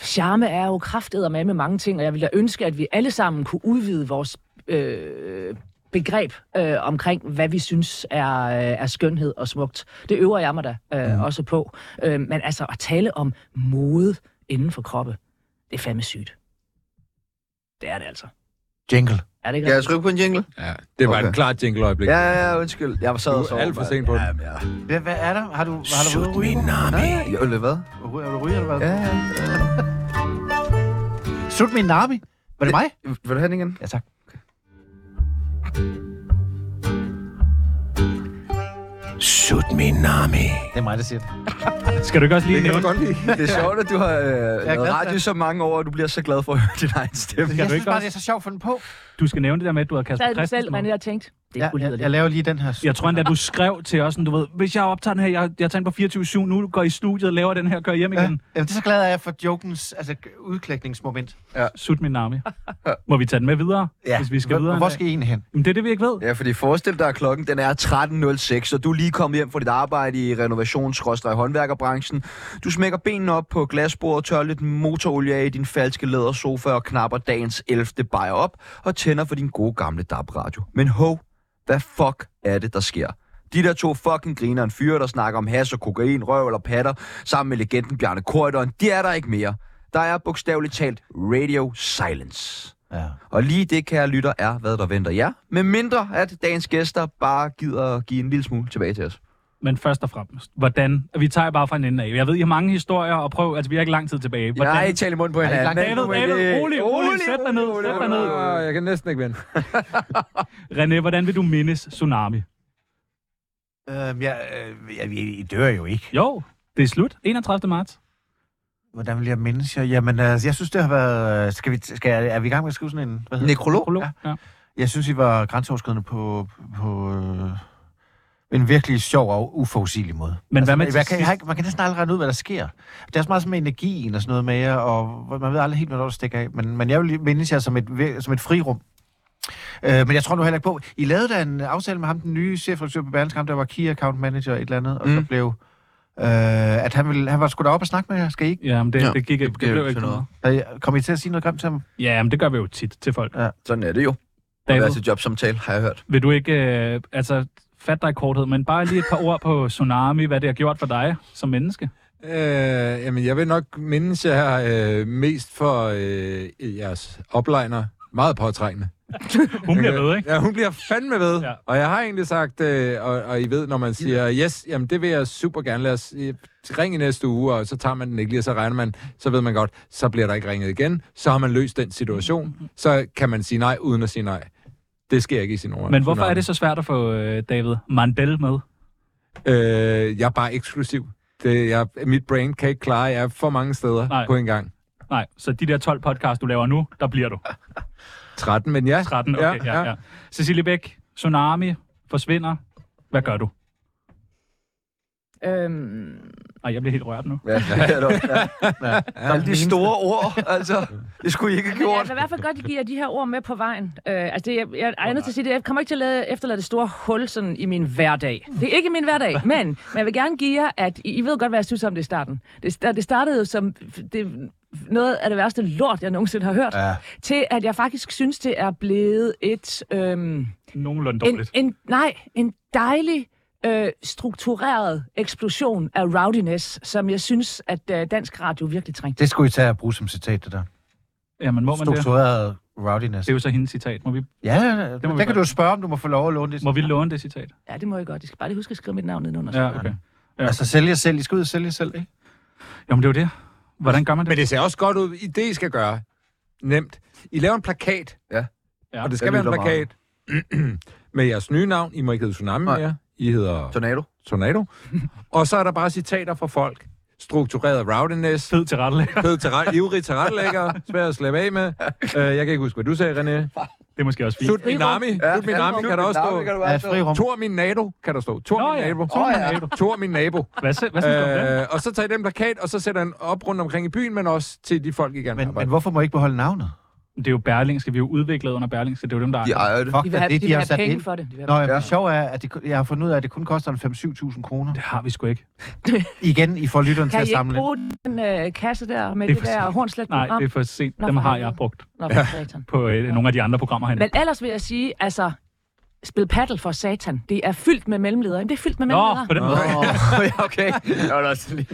charme er jo kraftedet med med mange ting, og jeg ville da ønske, at vi alle sammen kunne udvide vores øh, begreb øh, omkring, hvad vi synes er, øh, er skønhed og smukt. Det øver jeg mig da øh, mm. også på. Øh, men altså, at tale om mode inden for kroppe, det er fandme sygt. Det er det altså.
Jingle.
Er det ikke
Kan jeg
rigtigt?
trykke på en jingle?
ja. Det var
Okay.
okay. en klar jingleøjeblik.
Ja, ja, ja, undskyld. Jeg var sad
Du
og
er
sov.
alt for sent på den.
Jamen, jeg-
Hvad, hvad er der? Har du, har du været ude at ryge?
Nej, Jo, eller hvad?
Er du ryger, eller hvad?
Ja, ja.
Sut min nami. Var det mig?
Vil du have den igen?
Ja, tak.
Sut min nami.
Det er mig, der siger det.
Skal du ikke også lige
Det kan
nævne,
jeg godt lide.
Det er sjovt, at du har øh, lavet
glad for
radio
det.
så mange år, og du bliver så glad for at høre din egen stemme.
Jeg
du
synes
ikke
bare,
også-
det er så sjovt at få den på.
du skal nævne det der med, at du har
Sad
Kasper
du selv,
Christensen?
René,
med?
og tænkte, det er
Ja,
ja,
jeg, jeg laver lige den her.
Jeg tror endda, du skrev til os, sådan, du ved, hvis jeg optager den her, jeg, jeg tænker på 24-7 nu, går i studiet, laver den her, kører hjem
Ja,
igen.
Jamen, det er så glad jeg for jokens altså, udklækningsmoment.
Sut min nami. Må vi tage den med videre, ja. hvis vi skal videre?
Hvor,
en
hvor
dag?
skal I egentlig hen?
Jamen, det er det, vi ikke ved.
Ja, fordi forestil dig, at klokken den er 13.06, og du er lige kommet hjem fra dit arbejde i renovations- og håndværkerbranchen. Du smækker benene op på glasbordet, tør lidt motorolie af i din falske lædersofa og knapper dagens 11. bajer op og tænder for din gode gamle DAB-radio. Men ho, hvad fuck er det, der sker? De der to fucking griner en fyre, der snakker om has og kokain, røv eller patter, sammen med legenden Bjarne Korydon, de er der ikke mere. Der er bogstaveligt talt radio silence.
Ja.
Og lige det, kære lytter, er, hvad der venter jer. Med mindre, at dagens gæster bare gider at give en lille smule tilbage til os.
Men først og fremmest, hvordan... Vi tager bare fra en ende af. Jeg ved, I har mange historier og prøv... Altså, vi har ikke lang tid tilbage. Hvordan,
Jeg er ikke tale i munden på hinanden.
David, David, rolig, rolig, sæt dig ned, sæt dig ned.
Åh, Ah, Jeg kan næsten ikke vende.
René, hvordan vil du mindes tsunami?
Øhm, jeg, øh, jeg, I dør jo ikke.
Jo, det er slut. 31. marts.
Hvordan vil jeg mindes jer? Jamen, altså, jeg synes, det har været... øh, Skal vi, skal, er vi i gang med at skrive sådan en... Hvad hedder
Nekrolog?
Prolog.
Ja.
Ja.
det? Jeg synes, I var grænseoverskridende på, på øh, en virkelig sjov og uforudsigelig måde. Altså,
Men hvad med til
man, kan, jeg
sidst?
har ikke, man kan næsten aldrig regne ud, hvad der sker. Der er så meget sådan med energien og sådan noget med jer, og man ved aldrig helt, hvornår det stikker af. Men, men jeg vil mindes jer som et, vir- som et frirum. Øh, men jeg tror nu heller ikke på... I lavede da en aftale med ham, den nye chefredaktør på Berlingske, ham der var key account manager og et eller andet, og mm. så blev... Øh, at han, ville, han var sgu da op og snakke med jer. Skal I ikke?
Ja, men det,
Ja,
ja, det gik ikke. Det,
bliver
blev
ikke
ikke
til
noget.
Øh, Kom I til at sige noget grimt til ham?
Ja, men det gør vi jo tit til folk.
Sådan er det jo. Det er
David,
til jobsamtale, har jeg hørt.
vil du ikke... Øh, altså, fat dig i korthed, men bare lige et par ord på tsunami, hvad det har gjort for dig som menneske.
Øh, jamen, jeg vil nok mindes jer øh, mest for øh, jeres oplejner. Meget påtrængende.
Hun bliver ved, ikke?
Øh, Ja, hun bliver fandme ved.
Ja.
Ja. Og jeg har egentlig sagt, øh, og, og I ved, når man siger, yes, jamen det vil jeg super gerne. Lad os øh, ringe i næste uge, og så tager man den ikke lige, og så regner man, så ved man godt, så bliver der ikke ringet igen. Så har man løst den situation. Så kan man sige nej, uden at sige nej. Det sker ikke i sin ord.
Men hvorfor er det så svært at få øh, David Mandel med?
Øh, jeg er bare eksklusiv. Det, jeg, mit brain kan ikke klare, jeg er for mange steder
Nej.
nej. på en gang.
Nej, så de der 12 podcast, du laver nu, der bliver du.
13, men ja.
13, okay, ja, ja. ja. Cecilie Bæk, tsunami forsvinder. Hvad gør du?
Øhm,
Ej, jeg bliver helt rørt nu.
Ja, det er det også, ja. ja. Alle de store ord, altså. Det skulle I ikke have
Men jeg
gjort.
vil i hvert fald godt give jer de her ord med på vejen. Øh, altså det, jeg, jeg er nødt til at sige det. Jeg kommer ikke til at lade, efterlade det store hul sådan i min hverdag. Det er ikke min hverdag, men, men jeg vil gerne give jer, at I, I ved godt, hvad jeg synes om det i starten. Det, sta- det startede jo som det, noget af det værste lort, jeg nogensinde har hørt, ja. til at jeg faktisk synes, det er blevet et... Øhm,
Nogenlunde
en,
dårligt.
en, nej, en dejlig øh, struktureret eksplosion af rowdiness, som jeg synes, at øh, dansk radio virkelig trængte.
Det skulle I tage og bruge som citat, det der.
Jamen, må man det?
Struktureret rowdiness.
Det er jo så hendes citat. Må vi,
Ja, ja, ja.
Det må vi
der kan
gøre.
du spørge, om du må få lov at låne det.
må vi låne det citat?
Ja, det må jeg godt. Jeg skal bare lige huske at skrive mit navn nedenunder.
Ja, okay.
Altså, sælge jer selv. I skal ud og sælge jer selv, ikke?
Jamen, det er jo det. Hvordan gør man det?
Men det ser også godt ud. I det, I skal gøre. Nemt. I laver en plakat.
Ja.
Ja,
Og det
jeg
skal være en
lytter meget.
plakat. med jeres nye navn. I må ikke hedde Tsunami
Nej.
mere. I hedder
Tornado.
Tornado. og så er der bare citater fra folk. Struktureret rowdiness.
Fed til rette
Øh, Fed til ret, ivrig til retlægger. Svær at slippe af med. Uh, jeg kan ikke huske, hvad du sagde, René.
Det er måske også fint.
Slut min army. Slut min army kan der også stå.
Ja, et frirum.
Tor min nabo kan der stå.
Nå
Tor min
ja,
nabo.
Tor min nabo.
Tor min nabo.
Hvad, så- hvad synes du om det?
Øh, og så tager I den plakat, og så sætter den op rundt omkring i byen, men også til de folk, I gerne vil
Men, men
arbejde.
hvorfor må I ikke beholde navnet?
Det er jo Berlingske. Vi er jo udviklet under Berlingske. Det er jo dem, der...
De ejer det.
Fuck,
De vil
at
have,
det,
de vil
har
have
sat
penge
ind.
for det. De vil
Nå,
have...
jamen,
Ja.
det sjove er, at det, jeg har fundet ud af, at det kun koster en 5-7.000 kroner.
Det har vi sgu ikke.
Igen, I får lytteren til
Kan
at
I ikke
samle.
bruge den øh, kasse der med
Det er
det,
for
der
sent.
hornslet
Nej, det er for sent.
Nå,
Dem
for
har
helvede.
jeg brugt
Nå, for satan.
på øh, nogle af de andre programmer herinde.
Men ellers vil jeg sige, altså, spil paddle for satan. Det er fyldt med mellemledere. Jamen, Det er fyldt med
Nå,
mellemledere.
på den måde.
Ja, okay. Jeg var da også lige...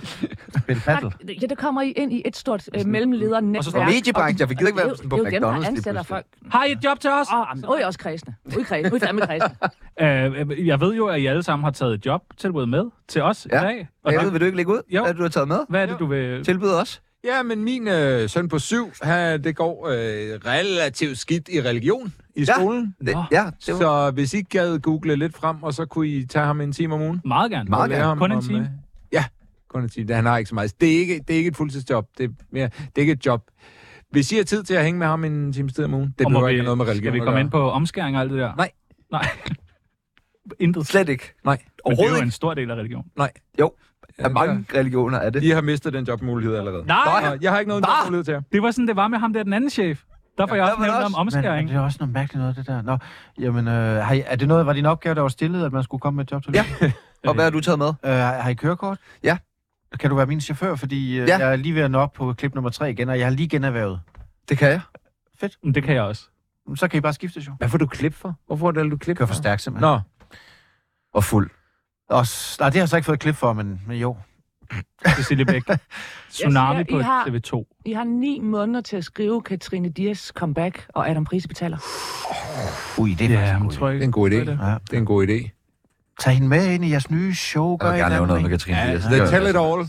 Spil paddle.
Ja, der kommer I ind i et stort øh, mellemledernetværk.
Og så står
Mediebranchen, jeg gider ikke være sådan på
Det er jo dem,
McDonald's.
der
lige
ansætter
pludselig.
folk.
Har I et job til os?
Åh, oh, nu er jeg også kredsende. Nu er I kredsende. Nu er I fandme kredsende.
Øh, jeg ved jo, at I alle sammen har taget et jobtilbud med til os i
Ja.
dag. Og
Ja,
det,
ved, vil du ikke lægge ud? Hvad
Jo.
er det, du har taget med?
hvad er det, du vil...
Tilbyder os?
Ja, men min øh, søn på syv, han, det går øh, relativt skidt i religion i skolen.
Det,
Nå.
ja, det var...
Så hvis I gad google lidt frem, og så kunne I tage ham en time om ugen.
Meget gerne.
Meget
og lære
gerne.
ham
Kun en
om,
time?
øh, Ja, kun en time. Han har ikke så meget. Det er ikke, det er ikke et fuldtidsjob. Det er, mere, det er ikke et job. Hvis I har tid til at hænge med ham en times tid om ugen, det
Og må
behøver
vi-
ikke noget med religion
Skal vi
at
komme
gøre.
ind på omskæring og alt det der?
Nej.
Nej. Intet.
Slet ikke.
Nej,
Men det er
Overhovedet
jo
ikke.
en stor del af religion.
nej.
Af mange religioner er det.
I har mistet den jobmulighed allerede.
Nej,
Og Jeg har ikke noget
Hva?
jobmulighed til jer.
det var sådan, det var med ham der, den anden chef. Der får jeg
der
også
var det
nævnt om
også.
Men, men
omskæring.
det er også noget mærkeligt noget, det der. Nå, jamen, øh, har I, er det noget, var din opgave, der var stillet, at man skulle komme med et job til?
Ja. Og hvad har du taget med?
Øh, har I kørekort?
Ja.
Kan du være min chauffør, fordi øh,
Ja.
ja. jeg er lige ved at nå op på klip nummer 3 igen, og jeg har lige generhvervet.
Det kan jeg.
Men det kan jeg også.
Men Så kan I bare skifte, jo.
Hvad får du klip for? Hvorfor er det, du klip
Kører for stærkt, simpelthen.
Nå,
Og fuld.
Og, s- nej, det har jeg så ikke fået klip for, men, men jo.
Cecilie Bæk. Tsunami
Jeg
på
siger, I har-
TV2.
I har ni måneder til at skrive Katrine Dias comeback, og Adam Price betaler.
Ui, det er faktisk
Ja, men
en god idé.
tror
det
jeg
er en god idé.
Ja.
Det er en god idé.
Tag hende med ind i jeres nye show.
Jeg vil gerne lave noget med Katrine
Ja,
Dias.
The Tell It All,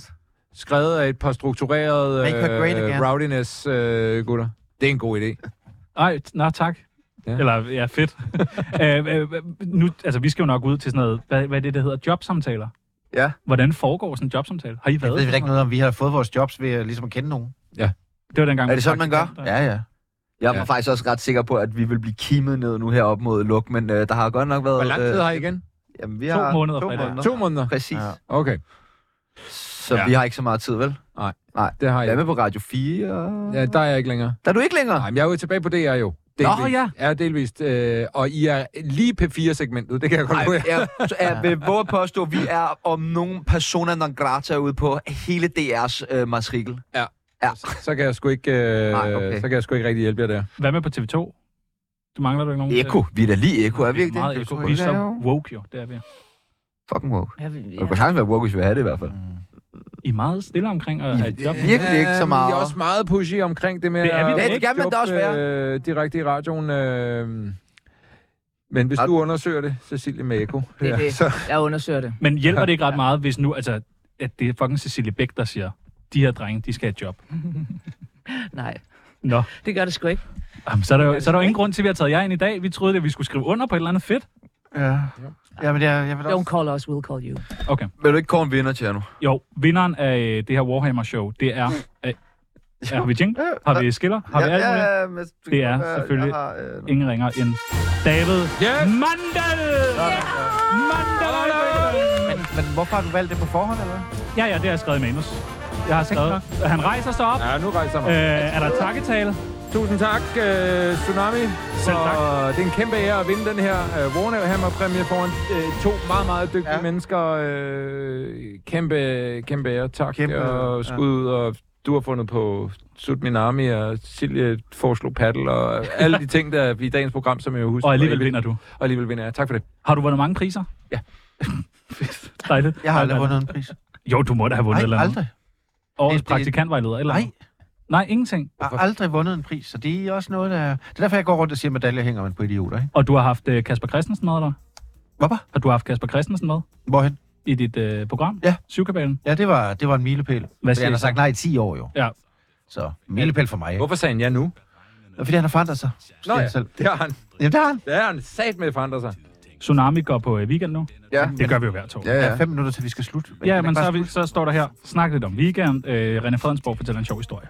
skrevet af et par strukturerede
Make her great
øh,
again.
rowdiness-gutter. det er en god idé.
Nej, t- nå tak.
Ja.
Ja. Eller, ja, fedt. øh, øh, nu, altså, vi skal jo nok ud til sådan noget, hvad, hvad er det, der hedder jobsamtaler?
Ja.
Hvordan foregår sådan en jobsamtale? Har I
Jeg
været?
ved
til
vel ikke
sådan
noget om, vi har fået vores jobs ved øh, ligesom at kende nogen.
noget? Det var dengang,
Er
vi
det sådan,
faktisk
man gør?
kendte dig.
Ja, ja.
Jeg var
Ja.
faktisk også ret sikker på, at vi vil blive kimet ned nu her op mod luk, men øh, der har godt nok været...
Hvor lang tid har I igen?
Jamen, vi
To
har
måneder
to
fra i dag.
måneder.
Øh, To måneder?
Præcis.
Ja.
Okay,
Så
Ja.
vi har ikke så meget tid, vel?
det har
Jeg er
jeg.
med på Radio 4.
Ja, der er jeg ikke længere.
Der er du ikke længere.
Nej, men jeg er jo tilbage på DR jo.
Nå, ja.
Ja, delvist. Øh, og I er lige P4-segmentet, det kan jeg godt lide.
jeg, jeg vil våge at påstå, at vi er om nogen persona non grata ude på hele DR's øh, matrikel.
Så kan jeg sgu ikke, øh,
Nej, okay.
så kan jeg sgu ikke rigtig hjælpe jer der.
Hvad med på TV2? Du mangler du ikke nogen?
Eko. Vi er da lige Eko, er vi
Vi er
ikke
meget
det?
eko. Vi er så woke jo, det er vi.
Fucking woke.
Jeg, jeg,
Det kunne sagtens være woke, hvis vi havde det i hvert fald.
I er meget stille omkring at have et job.
Virkelig ikke så meget.
Vi Øh, er også meget pushy omkring det med
Det er vi da
at-
ikke. Det
kan man da også være.
Øh, direkte i radioen. Øh, men hvis
Ret-
du undersøger det, Cecilie med Eko,
Det er
ja,
det.
så
jeg undersøger det.
Men hjælper det ikke ret meget, hvis nu, altså, at det er fucking Cecilie Bæk, der siger, de her drenge, de skal have et job.
Nej,
Nå,
det gør det sgu ikke.
Jamen, så er der jo, så er der jo ingen grund til, at vi har taget jer ind i dag. Vi troede, at vi skulle skrive under på et eller andet fedt.
Ja. Ja, men jeg, jeg vil
Don't
også...
call us, we'll call you.
Okay.
Vil du ikke kåre en vinder, Tjerno?
Jo, vinderen af øh, det her Warhammer-show, det er... Øh, har vi jingle? Har vi skiller? Har vi alt muligt?
men
Det er selvfølgelig
har, øh,
Ingen ringer end David
Yes!
Mandel! Mandel!
Men, men hvorfor har du valgt det på forhånd, eller hvad?
Ja, ja, det har jeg skrevet i manus. Jeg har skrevet... Han rejser sig op.
ja, nu rejser mig.
Øh, er der takketale?
Tusind tak, øh, Tsunami.
Selv tak.
Og det er en kæmpe ære at vinde den her øh, Warhammer-præmie foran øh, to meget, meget dygtige ja.
Ja.
mennesker. Øh, kæmpe, kæmpe ære. Tak. Kæmpe,
Kæmpe,
og skud ud, og du har fundet på Sut Min Army, og Silje foreslog paddle, og alle de ting, der er i dagens program, som jeg jo husker.
Og alligevel vinder du.
Og alligevel vinder jeg. Tak for det.
Har du vundet mange priser?
Ja.
Fedt. Dejligt.
Jeg har aldrig
Dejligt.
vundet en pris.
Jo, du må da have vundet et eller
Nej,
andet.
aldrig.
Årets
Det- det-
praktikantvejleder eller
Nej,
noget. Nej, ingenting.
jeg har aldrig vundet en pris, så det er også noget, der... Det er derfor, jeg går rundt og siger, at medaljer hænger man på idioter, ikke?
Og du har haft øh, Kasper Christensen med dig?
Hvorfor?
Har du haft Kasper Christensen med
Hvorhen?
i dit øh, program?
Ja.
Syvkabalen.
Ja, det var, det var en milepæl.
Hvad
Fordi
siger
han
I
har
så?
sagt nej i 10 år jo.
Ja.
Så milepæl for mig.
Hvorfor sagde han ja nu?
Fordi han har forandret sig. siger
Nå ja,
han Selv.
det har han.
Jamen, det har han.
Det har han sat med forandret sig.
Tsunami går på øh, weekend nu.
Ja.
Det gør vi jo hver torsdag.
Ja,
Der
ja.
er fem minutter, til vi skal slutte.
Ja, men så, er
har
vi, så står der her, snak lidt om weekend. Øh, René Fredensborg fortæller en sjov historie.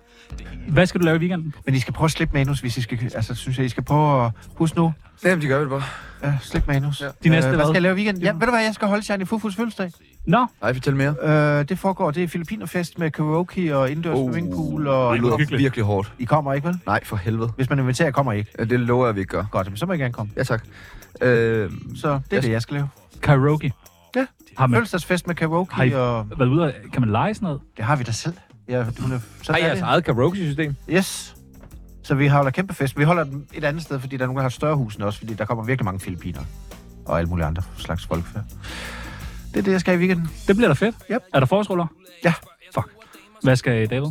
Hvad skal du lave i weekenden?
Men I skal prøve at slippe manus, hvis I skal... Altså, synes jeg, I skal prøve at... Husk nu,
Jamen, de gør det bare.
ja, slip manus. Ja.
De næste
hvad?
hvad?
skal jeg lave i weekenden? Ja, ved du hvad, jeg skal holde Shiny Fufus fødselsdag.
Nå,
Nej, fortæl mere.
Øh, det foregår, det er Filippinerfest med karaoke og indendørs
Oh.
swimmingpool,
Det lyder
og
hyggeligt.
virkelig hårdt.
I kommer ikke, vel?
Nej, for helvede.
Hvis man inviterer, kommer I ikke.
Ja, Det lover jeg, vi ikke gør.
Godt, men så må I gerne komme.
Ja, tak. Øh,
Så det er
Jeg-
det, jeg skal lave.
karaoke.
Ja.
Har man
Fødselsdagsfest med
Har I-
karaoke, og
været ude og, Kan man lege sådan noget?
det har vi da selv. Ja, hun er, så
Ej,
er
jeres
det.
eget karaoke-system.
Yes. Så vi holder kæmpe fest. Vi holder den et andet sted, fordi der er nogen, der har et større hus end os, fordi der kommer virkelig mange filipiner og alle mulige andre slags folk. Det er det, jeg skal i weekenden.
Det bliver da fedt.
Yep.
Er der forårsruller?
Ja.
Fuck. Hvad skal David?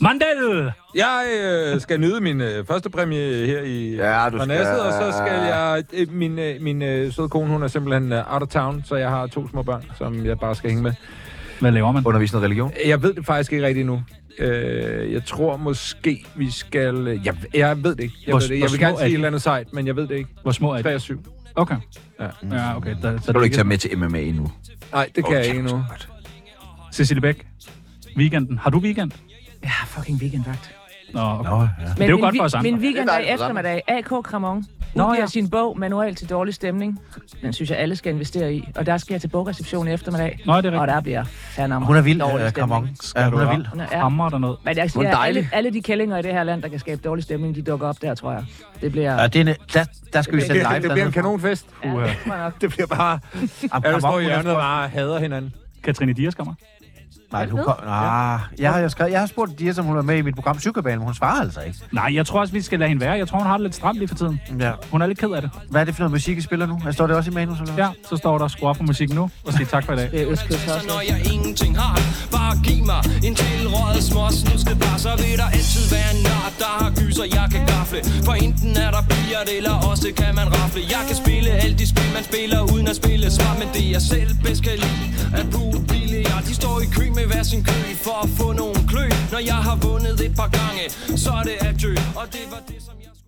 Mandel!
Jeg øh, skal nyde min øh, første præmie her i
Ja, du
Parnasset,
skal-
og så skal jeg... Øh, min øh, min øh, søde kone, hun er simpelthen øh, out of town, så jeg har to små børn, som jeg bare skal hænge med.
Hvad laver man?
undervis noget religion.
Jeg ved det faktisk ikke rigtigt endnu. Øh, jeg tror måske, vi skal... øh, Jeg, jeg ved det ikke. Jeg,
Hvor-
ved det.
hvor
jeg vil
små
gerne
er
sige et
de?
eller andet sejt, men jeg ved det ikke.
Hvor små er
3
de?
og 7.
Okay.
Ja.
Ja, okay. Der,
Så kan du ikke tage med til MMA endnu.
Nej, det kan jeg ikke endnu.
Cecilie Bæk, weekenden. Har du weekend?
Jeg har fucking weekendvagt.
Nå, okay.
Nå, ja.
Men
jo
min
godt for
vi-
os andre.
Min weekend
Det er
er i
dejligt for os andre.
eftermiddag. AK Kramon
Nå,
udgiver
ja.
sin bog Manual til dårlig stemning. Den synes jeg, alle skal investere i. Og der skal jeg til bogreception i eftermiddag.
Nå, det er
Og
rigtigt.
der bliver fandme
Hun er vild,
dårlig
øh,
uh,
stemning.
Kramon. Ja, hun er vild.
Hun er, ja.
Hammer der noget.
Men jeg
Hun er
siger,
dejlig.
alle, alle de kællinger i det her land, der kan skabe dårlig stemning, de dukker op der, tror jeg. Det bliver...
Ja, det er en, der, der skal vi
Det
sende live.
det bliver en kanonfest.
Ja,
uha.
det tror jeg nok.
Det bliver bare... Alle står i hjørnet og bare hader hindernen.
Katrine Dias kommer.
Nej, du kom. Ah, jeg, har, jeg, skrev, jeg har spurgt Dias, om hun var med i mit program Cykelbanen, men hun svarer altså ikke.
Nej, jeg tror også, vi skal lade hende være. Jeg tror, hun har det lidt stramt lige for tiden.
Ja.
Hun er lidt ked af det.
Hvad er det for noget musik, I spiller nu? Altså, står det også i manus? Eller? hvad?
Ja, så står der skru op for musik nu og sige tak for i dag.
Det er østkyst også.
Når jeg ingenting har Bare giv mig en tilrådet småsnusket par Så vil der altid være en nar Der har gyser, jeg kan gafle For enten er der billiard Eller også kan man rafle Jeg kan spille alle de spil Man spiller uden at spille svar Men det jeg selv bedst kan lide At bruge billiard De står i kø med hver sin kø For at få nogle klø Når jeg har vundet et par gange Så er det at dø Og det var det som jeg skulle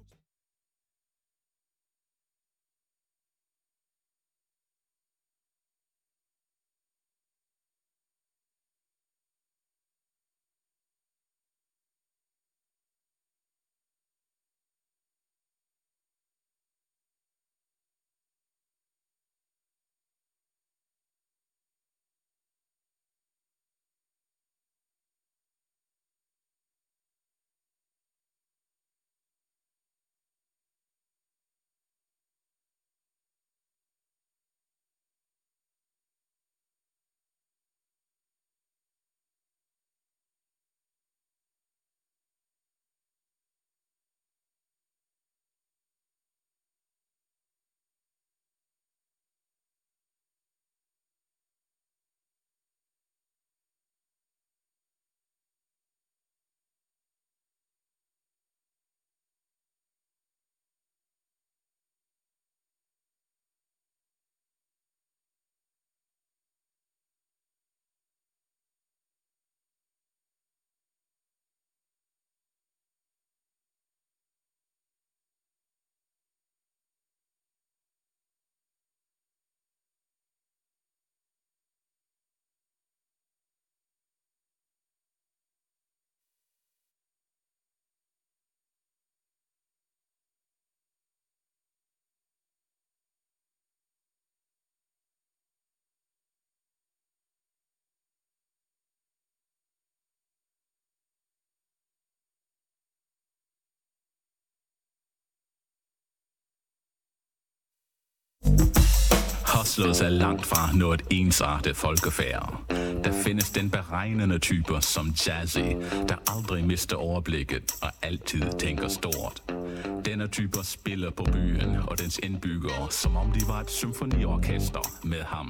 Hustlers er langt fra noget ensartet folkefærd. Der findes den beregnende typer som Jazzy, der aldrig mister overblikket og altid tænker stort. Denne typer spiller på byen og dens indbyggere, som om de var et symfoniorkester med ham